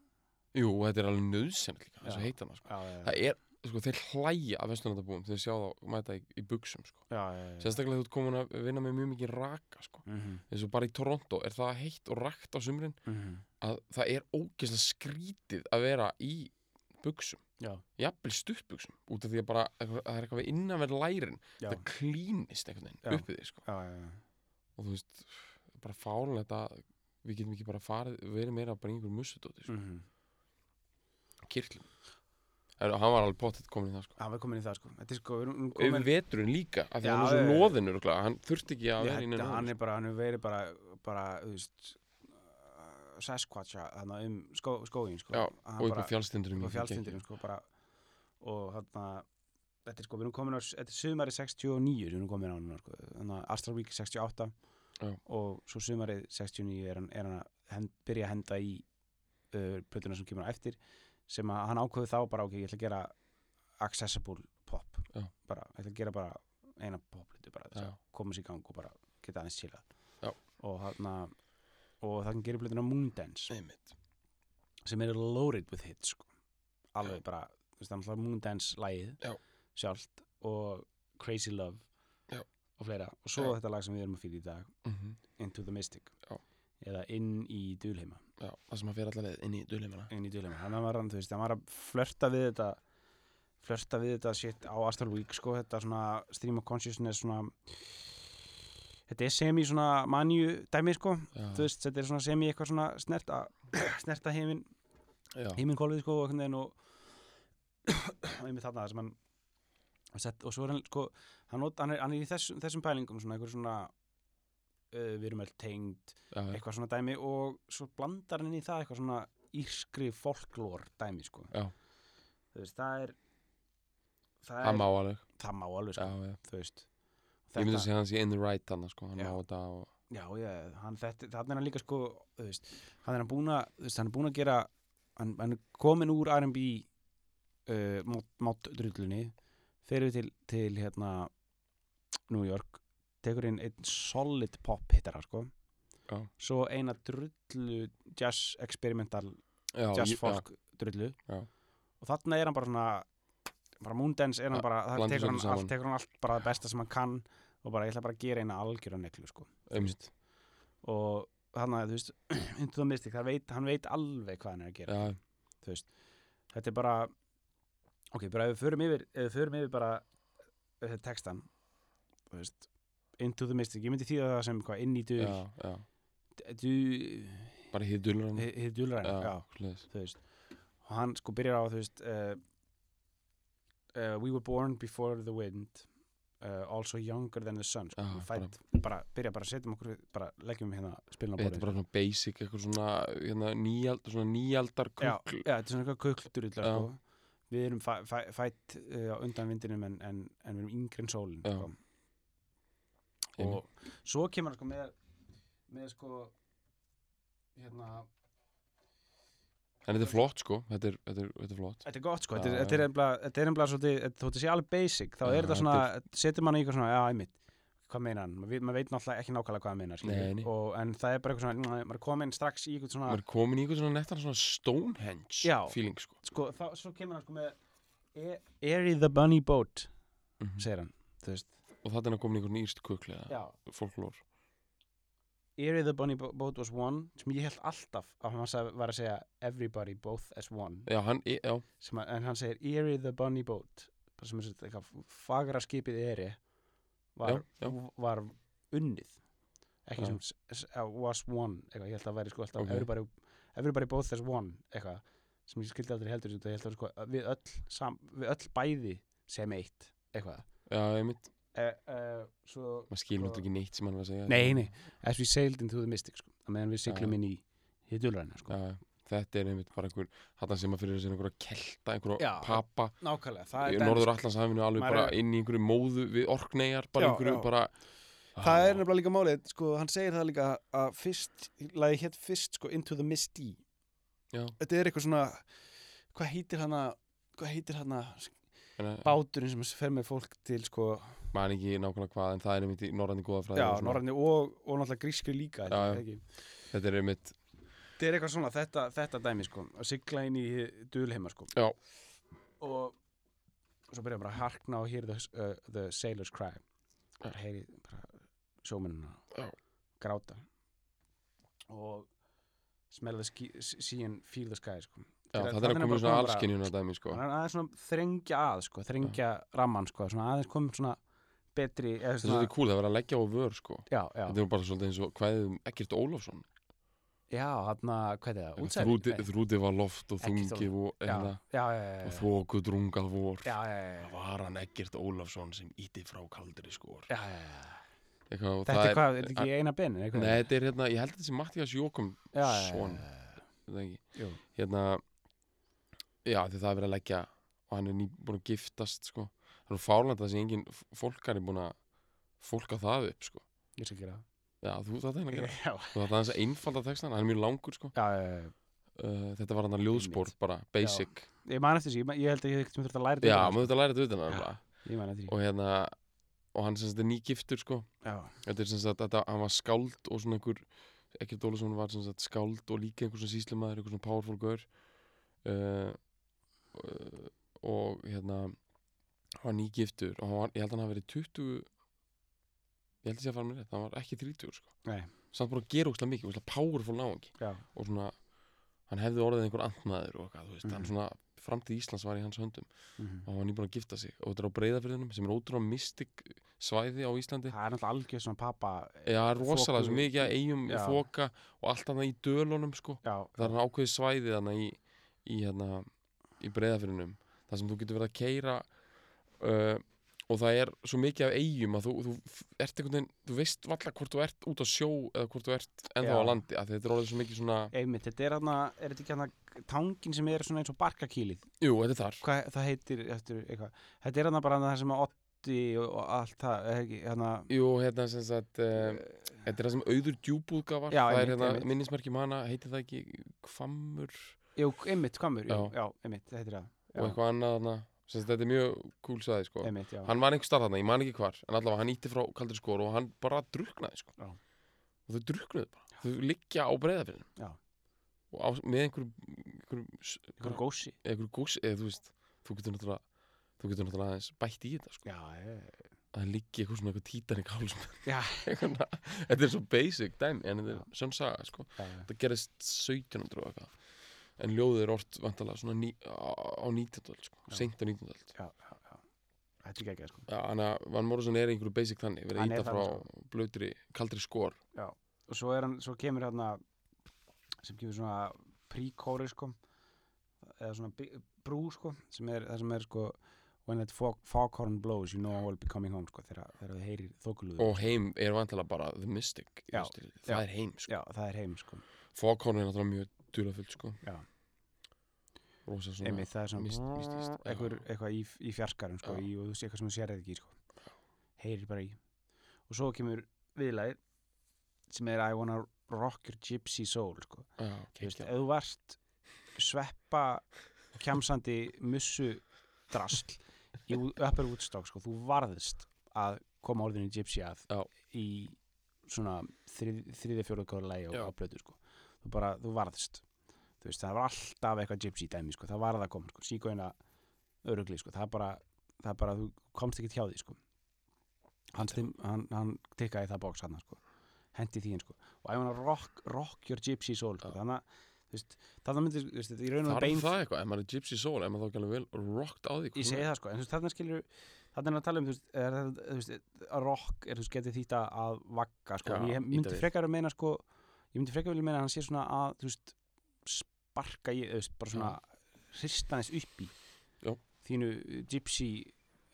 Speaker 2: jú, og þetta er alveg nöðsend líka, þess
Speaker 1: Já.
Speaker 2: að heita hana sko.
Speaker 1: já, já, já,
Speaker 2: það er, sko, þeir hlæja af vestunandabúum þegar þeir sjá þá mæta í, í buksum sko.
Speaker 1: já, já, já.
Speaker 2: sérstaklega þú ert komin að vinna með mjög mikið raka sko.
Speaker 1: Mhm,
Speaker 2: eins og bara í Toronto er það heitt og rakt á sumrin
Speaker 1: mhm.
Speaker 2: að það er ógeðslega skrítið að vera í buksum
Speaker 1: Já.
Speaker 2: jafnvel stuttbuksum út af því að bara eitthvað- það er eitthvað við innanverð lærin
Speaker 1: já,
Speaker 2: það klínist einhvern
Speaker 1: Já.
Speaker 2: veginn uppið því sko.
Speaker 1: já, já, já.
Speaker 2: og þú veist, bara fálanlegt að við getum ekki bara farið, verið meira bara í einhver mussudóti, sko.
Speaker 1: Mhm.
Speaker 2: mm. kirklum Það er- hann var alveg pottitt komin í það sko.
Speaker 1: Já, við erum komin í það sko Þetta er sko, við erum
Speaker 2: yfir
Speaker 1: komin
Speaker 2: veturinn líka af því
Speaker 1: Já,
Speaker 2: hann er svo
Speaker 1: já, já.
Speaker 2: loðin örugglega, hann þurfti ekki að
Speaker 1: Ég
Speaker 2: vera
Speaker 1: held
Speaker 2: inn
Speaker 1: að Hann
Speaker 2: en
Speaker 1: er bara, hann er verið bara bara, þú veist uh, Sasquatcha, þannig um skó, skóin sko
Speaker 2: Já,
Speaker 1: Hann
Speaker 2: og upp
Speaker 1: bara-
Speaker 2: á fjallstindurum
Speaker 1: upp á fjallstindinum sko bara og þannig þetta er sko, við erum komin á þetta er sumari 69 sem við erum komin á núna sko þannig að Astral Week 68
Speaker 2: Já.
Speaker 1: og svo sumarið 69 er hann, er hann að hend, byrja að henda í uh, plötuna sem kemur á eftir sem að hann ákveði þá bara ok, ég ætla að gera accessible pop
Speaker 2: Já.
Speaker 1: bara, ég ætla að gera bara eina poplötu bara þess að koma sér í gang og bara geta aðeins chilla
Speaker 2: Já.
Speaker 1: og hann og það gerir plötuna Moondance
Speaker 2: einmitt
Speaker 1: sem eru loaded with hits sko. alveg bara, þú veist, þannig að Moondance lagið
Speaker 2: Já.
Speaker 1: sjálft og Crazy Love
Speaker 2: Já.
Speaker 1: og fleira, og svo þetta lag sem við erum að fýra í dag
Speaker 2: Mhm.
Speaker 1: Into the Mystic
Speaker 2: Já.
Speaker 1: eða Inn í Dulheima
Speaker 2: Já, það sem að fyrir allaveg inn í dulheimana
Speaker 1: inn í Dulheima, þannig var hann, þú veist, hann var að flörta við þetta flörta við þetta shit á Astral Week, sko, þetta svona stream of consciousness, svona þetta er semi svona manju dæmi, sko, þú veist, þetta er svona semi eitthvað svona snerta, snerta heiminn
Speaker 2: veist
Speaker 1: heiminn kólfið sko og einhvern veginn og og einmitt þarna þar sem hann hann sett, og svo er hann sko hann, not, hann, er, hann er í þessum, þessum pælingum svona einhver svona uh, við erum öll tengd eitthvað svona dæmi og svo blandar hann inn í það eitthvað svona írskri folklór dæmi sko
Speaker 2: Já.
Speaker 1: þú veist það er það,
Speaker 2: hann
Speaker 1: er,
Speaker 2: má alveg
Speaker 1: það má alveg
Speaker 2: já,
Speaker 1: sko
Speaker 2: já.
Speaker 1: þú veist
Speaker 2: ég myndi að segja hans í in the right hann sko. hann
Speaker 1: Já.
Speaker 2: má þetta og...
Speaker 1: Já, já, hann þetta, þannig er hann líka sko, þú veist, hann er hann búin að, þú veist, hann er búin að gera, hann, hann er komin úr R&B uh, máttdrullunni, ferur til, til, hérna, New York, tekur inn einn solid pop hittara, sko,
Speaker 2: Já.
Speaker 1: svo eina drullu jazz experimental,
Speaker 2: já,
Speaker 1: jazz
Speaker 2: ég-
Speaker 1: folk drullu,
Speaker 2: Já.
Speaker 1: og þannig er hann bara svona, bara Moondance er hann
Speaker 2: Ja,
Speaker 1: bara, það
Speaker 2: blandar
Speaker 1: tekur hann,
Speaker 2: svolítið
Speaker 1: allt,
Speaker 2: saman.
Speaker 1: tekur hann allt bara það besta sem hann kann og bara ég ætla bara að gera eina algjöra neklu sko.
Speaker 2: einmitt
Speaker 1: og hann að þú veist Into the Mystic, það veit, hann veit alveg hvað hann er að gera
Speaker 2: já,
Speaker 1: þú veist, þetta er bara ok, bara ef við förum yfir ef við förum yfir bara eh, textan þú veist Into the Mystic, ég myndi þýða það sem hvað inn í dul
Speaker 2: já, já
Speaker 1: du,
Speaker 2: bara hýðu dulur hann
Speaker 1: hið dulræn já.
Speaker 2: Já. svoleiðis.
Speaker 1: þú veist og hann sko byrjar á þú veist uh, uh, We were born before the wind uh, also younger than the sun sko,
Speaker 2: Já,
Speaker 1: ah, fætt, bara, byrja bara að setja okkur bara leggjum hérna spilna á
Speaker 2: þetta er bara
Speaker 1: borðið
Speaker 2: svona basic eitthvað svona hérna, nýjald, svona nýjaldar
Speaker 1: já,
Speaker 2: kukl
Speaker 1: já, þetta er svona eitthvað kukldur illa,
Speaker 2: Já.
Speaker 1: sko. við erum fæ, fæ, fætt uh, á undan vindinum en, en, en við erum yngri en sólin
Speaker 2: Já.
Speaker 1: sko. og svo kemur hann sko með með sko hérna
Speaker 2: en þetta er flott sko þetta er, þetta er, þetta er flott
Speaker 1: Þetta er gott sko,
Speaker 2: Já,
Speaker 1: þetta er-
Speaker 2: já.
Speaker 1: þetta er ennbla, þetta er ennbla svolítið, þetta- þótt að sé alveg basic, þá
Speaker 2: Já,
Speaker 1: er þetta
Speaker 2: þetta
Speaker 1: svona, setur mann í eitthvað svona, já, einmitt, hvað meina hann, maður veit- maður veit náttúrulega ekki nákvæmlega hvað hann meina,
Speaker 2: Nei, nei.
Speaker 1: skilur, og, en það er bara eitthvað svona, mm, maður er komin strax í eitthvað svona,
Speaker 2: maður er komin í eitthvað svona nettan svona Stonehenge
Speaker 1: Já.
Speaker 2: feeling sko
Speaker 1: sko, þá, svo kemur hann sko með, "E- Airy the Bunny Boat,
Speaker 2: Mhm.
Speaker 1: segir hann, þú veist,
Speaker 2: og það er hann komin í eitthvað nýrst kukl eða
Speaker 1: já,
Speaker 2: folklór
Speaker 1: Airy the Bunny Bo- Boat was one, sem ég held alltaf að hann sagði- var að segja everybody both as one,
Speaker 2: já, hann, er- já,
Speaker 1: sem að, en hann segir Airy the Bunny Boat, bara sem er svona eitthvað fagra skipið Airy, var,
Speaker 2: já, já
Speaker 1: var unnið ekki
Speaker 2: Já.
Speaker 1: sem s- s- uh, was one eitthvað, ég held að væri sko alltaf
Speaker 2: Ok.
Speaker 1: everybody, everybody both as one eitthvað sem ég skildi aldrei heldur þetta, ég held að sko, við, öll sam, við öll bæði sem eitt eitthvað
Speaker 2: já, einmitt
Speaker 1: uh, uh, svo,
Speaker 2: maður skilur
Speaker 1: Sko-
Speaker 2: náttúrulega ekki neitt sem hann var að segja
Speaker 1: nei, nei, as we sailed into the mystic sko, að meðan við siglum
Speaker 2: Já.
Speaker 1: inn í hittulræna sko.
Speaker 2: já, þetta er einmitt bara einhver hann sem að fyrir þessi einhverja kelta einhverja
Speaker 1: Já.
Speaker 2: pappa
Speaker 1: nákvæmlega, það
Speaker 2: í
Speaker 1: er,
Speaker 2: norður allanshafinu alveg
Speaker 1: Maður
Speaker 2: bara
Speaker 1: er-
Speaker 2: inn í einhverju móðu við orkneyjar bara
Speaker 1: Já,
Speaker 2: einhverju
Speaker 1: já.
Speaker 2: bara
Speaker 1: það
Speaker 2: Ah,
Speaker 1: er nefnilega líka málið sko, hann segir það líka að fyrst lagi hétt fyrst sko, into the misty
Speaker 2: já,
Speaker 1: þetta er eitthvað svona hvað heitir hana hvað heitir hana
Speaker 2: en að-
Speaker 1: báturinn sem fer með fólk til sko,
Speaker 2: man ekki nákvæmlega hvað en það er einmitt í norræni góðafræði
Speaker 1: já,
Speaker 2: og svona.
Speaker 1: norrænni og, og náttúrulega grísku líka
Speaker 2: Já, já.
Speaker 1: þetta, ekki?
Speaker 2: þetta er einmitt
Speaker 1: þetta er eitthvað svona, þetta, þetta dæmi sko, að sigla inn í dulheima sko.
Speaker 2: Já.
Speaker 1: og svo byrja bara að harkna og hear the, uh, the sailors cry bara heyri bara sjómennina
Speaker 2: Já.
Speaker 1: gráta og smell the ski, see and feel the sky sko.
Speaker 2: já,
Speaker 1: Þetta-
Speaker 2: það er að
Speaker 1: þarna
Speaker 2: koma í
Speaker 1: bara
Speaker 2: svona
Speaker 1: bara-
Speaker 2: allskinjuna dæmi sko
Speaker 1: hann er aðeins svona þrengja að sko, þrengja ramman sko, svona aðeins kom svona betri eða
Speaker 2: þetta er
Speaker 1: svona,
Speaker 2: svolítið cool, það er verið að leggja á vör sko
Speaker 1: já, já,
Speaker 2: þetta er bara svolítið eins og kvæðið um Ekkert Ólafsson
Speaker 1: já, hann hvað er það, útsæði
Speaker 2: Þrúti, þrúti var loft og
Speaker 1: Eggert
Speaker 2: þungið og,
Speaker 1: já,
Speaker 2: hérna,
Speaker 1: já, já, já,
Speaker 2: og
Speaker 1: já,
Speaker 2: þóku drungað vor
Speaker 1: já, já, já,
Speaker 2: Það var hann Ekkert Ólafsson sem ítti frá kaldri skor
Speaker 1: já, já, já.
Speaker 2: Eitthvað, og
Speaker 1: þetta
Speaker 2: það
Speaker 1: er hvað, þetta er ekki eina benin
Speaker 2: Nei,
Speaker 1: eitthvað,
Speaker 2: þetta er hérna, ég held að þetta sé Mattias Jókum
Speaker 1: já, já, já,
Speaker 2: son.
Speaker 1: já, já.
Speaker 2: þetta ekki
Speaker 1: Jú.
Speaker 2: Hérna, já því það er verið að leggja og hann er nýbúin að giftast sko Það er fárlænt að það sé engin fólkar er búin að fólka það upp sko
Speaker 1: ég skal gera það.
Speaker 2: Já, þú þetta er að
Speaker 1: já,
Speaker 2: gera
Speaker 1: já,
Speaker 2: Og það er þess að einfalda textan, hann er mjög langur sko
Speaker 1: já, já, já,
Speaker 2: uh, Þetta var hann að ljóðspor bara, basic
Speaker 1: ég man eftir þessi, ég, man- ég held að ég hef þurft að læra
Speaker 2: Já,
Speaker 1: þetta,
Speaker 2: maður þetta læra þetta utan að það
Speaker 1: sko. ég man eftir því,
Speaker 2: og hérna og hann sem sagt er nýgiftur sko
Speaker 1: já,
Speaker 2: þetta er sem sagt þetta hann var skáld og svona einhver Ekkert Ólafsson var sem sagt skáld og líka einhver svona síslimaður einhver svona powerful gaur uh, uh, og hérna hann var nýgiftur og hann var, ég held að hann hafi verið 20 ég held að sé að fara mér rétt hann var ekki 30 sko
Speaker 1: Nei.
Speaker 2: samt bara að gera úkslega mikið úkslega powerful náungi
Speaker 1: já,
Speaker 2: og svona hann hefði orðið einhver antmaður og hvað þú veist
Speaker 1: Mhm.
Speaker 2: hann svona framtíð Íslands var í hans höndum
Speaker 1: mhm.
Speaker 2: og hann var nýbúin að gifta sig og þetta er á breyðafyrðinum sem er ótrúlega mystik svæði á Íslandi
Speaker 1: það er náttúrulega algjör svona pappa,
Speaker 2: Já, það er rosalega
Speaker 1: Þoku-
Speaker 2: svo mikið að eigum
Speaker 1: Já.
Speaker 2: þoka og allt annað í dölunum sko.
Speaker 1: já,
Speaker 2: það er hann ákveðið svæði þannig í, í, hérna, í breyðafyrðinum þar sem þú getur verið að keira uh, og það er svo mikið af eigum að þú, þú f- ert einhvern veginn þú veist valla hvort þú ert út á sjó eða hvort þú ert ennþá
Speaker 1: Já.
Speaker 2: á landi að þetta er orðið svo mikið svona
Speaker 1: einmitt, þetta er hann er þetta ekki hann tangin sem er svona eins og barkakýlið
Speaker 2: jú, þetta er þar
Speaker 1: hvað það heitir eftir eitthvað þetta er hann bara það sem að otti og, og allt það er ekki eh, hann
Speaker 2: jú, hérna sem sagt um, þetta er það sem auður djúbúðga var
Speaker 1: Já,
Speaker 2: það
Speaker 1: einmitt,
Speaker 2: er hérna,
Speaker 1: einmitt.
Speaker 2: minnismerkjum hana heitir það ekki hvammur
Speaker 1: jú, einmitt hvammur, jú,
Speaker 2: Já.
Speaker 1: já, einmitt, þetta er það
Speaker 2: og
Speaker 1: já,
Speaker 2: eitthvað annað þarna sem sagt, þetta er mjög cool sæði sko
Speaker 1: einmitt, já,
Speaker 2: hann var einhver starf þarna, ég man ekki hvar en allavega hann ítti frá kaldur skor og hann bara druknaði sko
Speaker 1: Já.
Speaker 2: og þau druknuðu bara þau liggja á breyðafinn
Speaker 1: Já.
Speaker 2: og á, með einhverju einhverju, s-
Speaker 1: einhver gósi
Speaker 2: einhverju gús eða þú veist, þú getur náttúrulega þú getur náttúrulega aðeins bætt í þetta sko.
Speaker 1: já, ég,
Speaker 2: að liggi eitthvað svona eitthvað títanik háls
Speaker 1: Já.
Speaker 2: þetta er svo basic dæmi en þetta er sönn saga sko.
Speaker 1: já, já.
Speaker 2: þetta gerist 1700 og eitthvað en ljóðið er oft vantalega svona ný, á, á 19. öld sko.
Speaker 1: Já.
Speaker 2: seint á 19. öld
Speaker 1: já, já, já. Þetta er ekki ekki, sko.
Speaker 2: Já, hann að Van Morrison er einhverju basic þannig verið
Speaker 1: Hann
Speaker 2: að
Speaker 1: er
Speaker 2: íta frá
Speaker 1: þannig, sko.
Speaker 2: blöðri, kaldri skor
Speaker 1: Og svo, er hann, svo kemur hérna, sem kemur svona pre-kóri, sko, eða svona bi- brú, sko, sem er, það sem er, sko, when that fog, foghorn blows, you know I will be coming home, sko, þegar, þegar þú heyrir þokulúður.
Speaker 2: og heim er vantalega bara the mystic
Speaker 1: Já,
Speaker 2: þú veist, það
Speaker 1: já.
Speaker 2: er heim sko.
Speaker 1: Já, það er heim, sko.
Speaker 2: Foghorn er náttúrulega mjög dulafull sko.
Speaker 1: Já.
Speaker 2: rosa svona
Speaker 1: Einmitt, það er svona
Speaker 2: mist- mistíst, já.
Speaker 1: einhver, eitthvað í, í fjarskarum sko,
Speaker 2: Já.
Speaker 1: í, og þú sé eitthvað sem þú sér ekki sko. heyrir bara í og svo kemur viðlæð sem er I wanna rock your gypsy soul sko.
Speaker 2: já,
Speaker 1: Þú veist,
Speaker 2: geggjað.
Speaker 1: ef þú varst sveppa kjamsandi mussu drasl í Wo- Upper Woodstock sko, þú varðist að koma orðinu gypsy að
Speaker 2: Já.
Speaker 1: í svona þrið, þriðja fjóruð kóra lægi
Speaker 2: Já.
Speaker 1: á, á blötu sko. þú bara, þú varðist þú veist, það var alltaf eitthvað gypsy dæmi sko. það varð að koma, sko. síkóina örugli, sko. það bara, það bara þú komst ekki hjá því sko. hann, stim, hann, hann tikkaði það bóks hann sko. hendi því inn sko. og æfum hann að rock, rock your gypsy soul sko. þannig að þú veist, þarna myndi þú veist, þetta er í raun og
Speaker 2: þarf
Speaker 1: bein
Speaker 2: það eitthvað, ef maður er gypsy soul ef maður þá gæla vel rocked á því
Speaker 1: ég segi það sko, en þú veist, þarna skilur þarna er að tala um, þú veist, er, þetta- þú veist að rock er, þú veist, getið þýtt að- að vagga sko,
Speaker 2: Já,
Speaker 1: en ég
Speaker 2: ýta
Speaker 1: myndi
Speaker 2: við.
Speaker 1: frekar að meina sko, ég myndi frekar vilja meina að hann sé svona að, þú veist sparka í, þú veist, bara svona hrista þess upp í
Speaker 2: Já.
Speaker 1: þínu uh, gypsy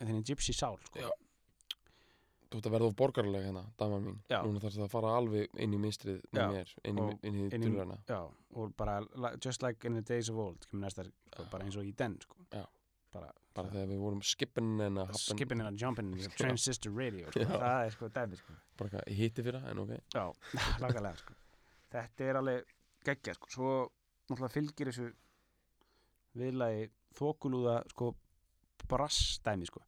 Speaker 1: þínu gypsy sál, sko
Speaker 2: Já. þú ert að verða of borgarlega hérna, daman mín
Speaker 1: Já.
Speaker 2: núna þarf það að fara alveg inn í mistrið
Speaker 1: Já.
Speaker 2: með mér, inn í,
Speaker 1: Og
Speaker 2: inn í
Speaker 1: inn í-
Speaker 2: dulurana
Speaker 1: Já, og bara, li- just like in the days of old kemur næsta, sko,
Speaker 2: Já.
Speaker 1: bara eins og í den, sko
Speaker 2: Já.
Speaker 1: bara,
Speaker 2: bara þegar við vorum skippin en að happen
Speaker 1: skipping and jumping in the transistor radio, sko,
Speaker 2: Já.
Speaker 1: það er sko dæmi, sko
Speaker 2: bara eitthvað hitti fyrir það, en ok
Speaker 1: Já, lagalega sko. Þetta er alveg geggja sko. Svo náttúrulega fylgir þessu viðlagi þokulúða sko brassdæmi sko.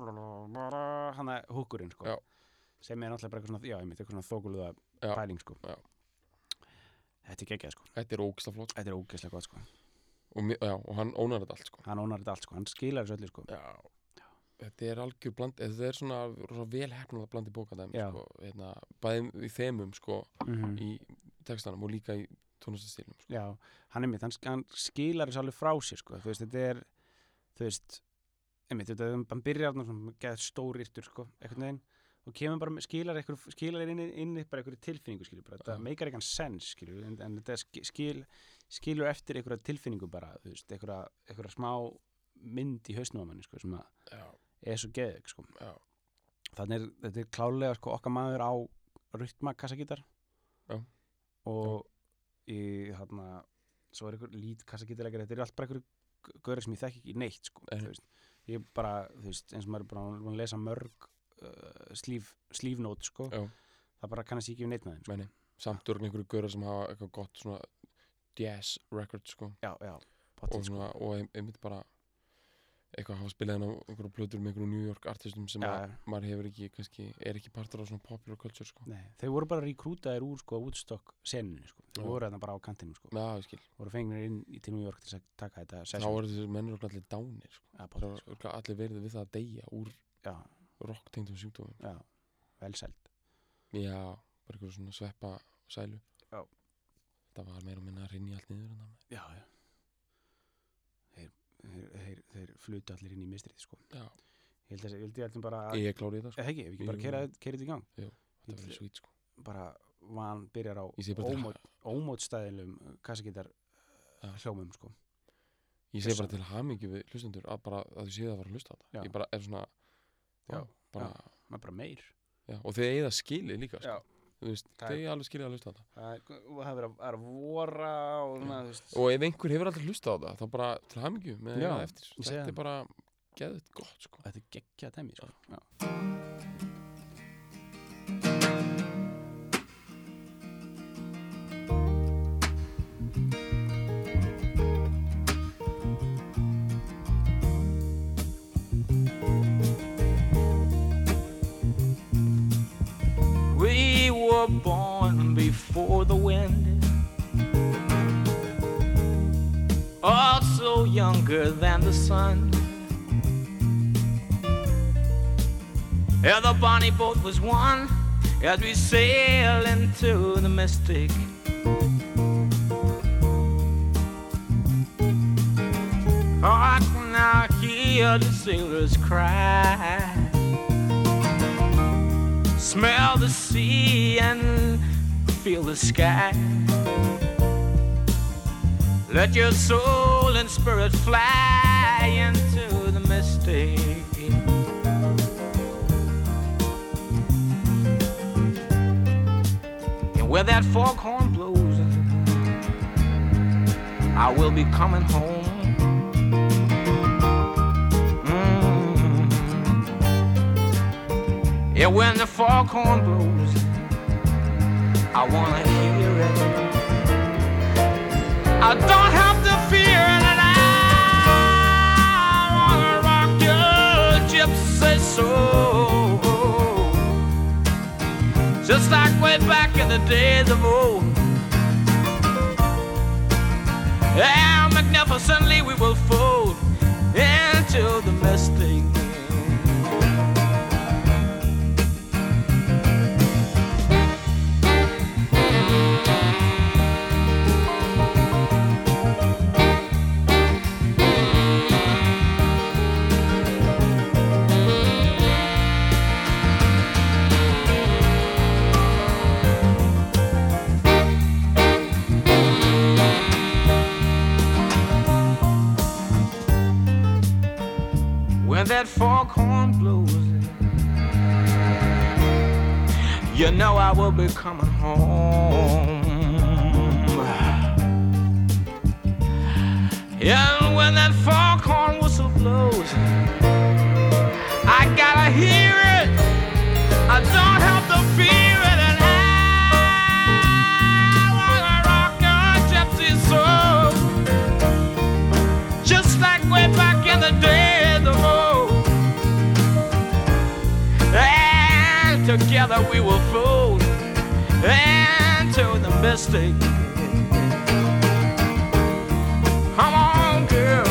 Speaker 1: Hanna húkurinn sko.
Speaker 2: Já.
Speaker 1: Sem er náttúrulega bara eitthvað svona, já, einmitt, eitthvað svona þokulúða
Speaker 2: Já,
Speaker 1: pæling sko.
Speaker 2: já.
Speaker 1: Þetta er geggjað sko.
Speaker 2: þetta er ógisla flott
Speaker 1: Þetta er ógeðslega gott sko.
Speaker 2: og, mér- já, og hann ónar þetta allt sko.
Speaker 1: Hann ónar þetta allt sko. Hann skilar þessu öllu sko.
Speaker 2: já. þetta er algjör bland þetta er svona rosa velhæfnað bland í bókandæmi
Speaker 1: Já.
Speaker 2: sko, hérna, bæði í þemum sko,
Speaker 1: Mhm.
Speaker 2: í textanum og líka í tónlistastílum sko.
Speaker 1: Já, hann er mitt, hann, hann skilar þessu alveg frá sér, sko, þú veist, þetta er, þú veist, einmitt, þetta er, hann byrjar þarna svona, geða stórýrtur, sko, einhvern veginn, og kemur bara, með- skilar einhver, skilar inn, inn bara einhverju tilfinningu, skilur, bara, þetta
Speaker 2: Já.
Speaker 1: meikar eitthvað sens, skilur, en, en þetta sk- skil, skilur eftir einhverja tilfinningu bara, þú veist, einhverja, einhverja smá mynd í hausnum á manni, sko, sem að
Speaker 2: já,
Speaker 1: er svo geðið, sko,
Speaker 2: já,
Speaker 1: þannig er, þetta er klálega, sko, okkar maður á rytma kassagítar
Speaker 2: Já.
Speaker 1: og í þarna svo er ykkur lít kassagítarleikar þetta eru allt bara ykkur gaurið sem ég þekki ekki neitt sko,
Speaker 2: Nei.
Speaker 1: þú veist. ég bara, þú veist, eins og maður er bara búinn að lesa mörg uh, slíf, slífnót sko,
Speaker 2: já.
Speaker 1: það bara kannast ég ekki við neitt með þeim sko.
Speaker 2: meni samt örn einhverju göra sem hafa eitthvað gott svona jazz record sko,
Speaker 1: já, já,
Speaker 2: og,
Speaker 1: potið sko.
Speaker 2: svona, og ein- einmitt bara eitthvað hafa spilað hann á einhverju plötur með einhverju New York artistum sem
Speaker 1: já,
Speaker 2: að,
Speaker 1: já.
Speaker 2: maður hefur ekki, kannski, er ekki partur á svona popular culture sko.
Speaker 1: Nei, þau voru bara rekrútaðir úr sko, útstokk seninu sko. þau
Speaker 2: Já.
Speaker 1: voru þarna bara á kantinum sko.
Speaker 2: Já, ég skil.
Speaker 1: voru fengnir inn í til New York til að taka þetta
Speaker 2: Þá
Speaker 1: session
Speaker 2: eru þessir mennur okkur allir dánir sko.
Speaker 1: Já,
Speaker 2: Það
Speaker 1: potið, sko.
Speaker 2: eru örugglega allir verið við það að deyja úr
Speaker 1: já,
Speaker 2: rock tengdum sjúkdómum
Speaker 1: já, velsælt
Speaker 2: Já, bara einhverju svona sveppa sælu
Speaker 1: Já.
Speaker 2: Þetta var meira og minna að rinni allt niður en
Speaker 1: já, já þeir, þeir, þeir, þeir flutu allir inn í mistrið sko.
Speaker 2: Já,
Speaker 1: ég held að ég held ég ætlum bara að
Speaker 2: ég klári þetta sko.
Speaker 1: Eða ekki, ef ekki bara
Speaker 2: Jú.
Speaker 1: keira þetta í gang
Speaker 2: Þetta verður
Speaker 1: ég- Oh
Speaker 2: svít sko.
Speaker 1: bara van byrjar á
Speaker 2: Ég segi bara til
Speaker 1: ómót, ómótstæðilum kassagítar
Speaker 2: Já.
Speaker 1: hljómum sko
Speaker 2: Ég segi
Speaker 1: Hlusta.
Speaker 2: bara til hamingju við hlustendur að, bara, að þið séu það að fara að hlusta á þetta
Speaker 1: Já.
Speaker 2: Ég bara er svona
Speaker 1: Já,
Speaker 2: bara,
Speaker 1: maður bara meir
Speaker 2: já. Og þið eigið að skilið líka sko.
Speaker 1: Já.
Speaker 2: Þú veist,
Speaker 1: Það
Speaker 2: Þið
Speaker 1: er-
Speaker 2: eigið alveg skilið að hlusta á þetta
Speaker 1: það er og það er verið að- það er að vora og svona, þú veist
Speaker 2: Og ef einhver hefur alltaf hlusta á þetta þá bara til hamingju með
Speaker 1: Já,
Speaker 2: það eftir sko.
Speaker 1: ég segi
Speaker 2: Þetta
Speaker 1: það.
Speaker 2: er bara geðið gott sko.
Speaker 1: þetta er geggja dæmi sko Já.
Speaker 3: We were born before the wind. Oh, so younger than the sun. Yeah, the bonnie boat was one as we sailed into the mystic. Oh, I can now hear the sailors cry. Smell the sea and feel the sky. Let your soul and spirit fly into the mystic. And where that foghorn blows, I will be coming home. Mm. Yeah, when the foghorn blows, I wanna hear it. I don't have to fear it. I wanna rock your gypsy soul just like way back in the days of old. And magnificently we will fold into the mystic. When that foghorn blows, you know I will be coming home. And when that foghorn whistle blows, I gotta hear it. I don't have to fear it. And I wanna rock your gypsy soul just like way back in the day of old. And together we will fold into the mystic. Come on, girl.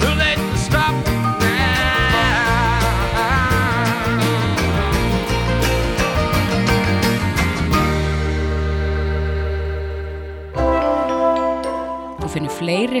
Speaker 3: Too late to stop now.
Speaker 4: Þú finnir fleiri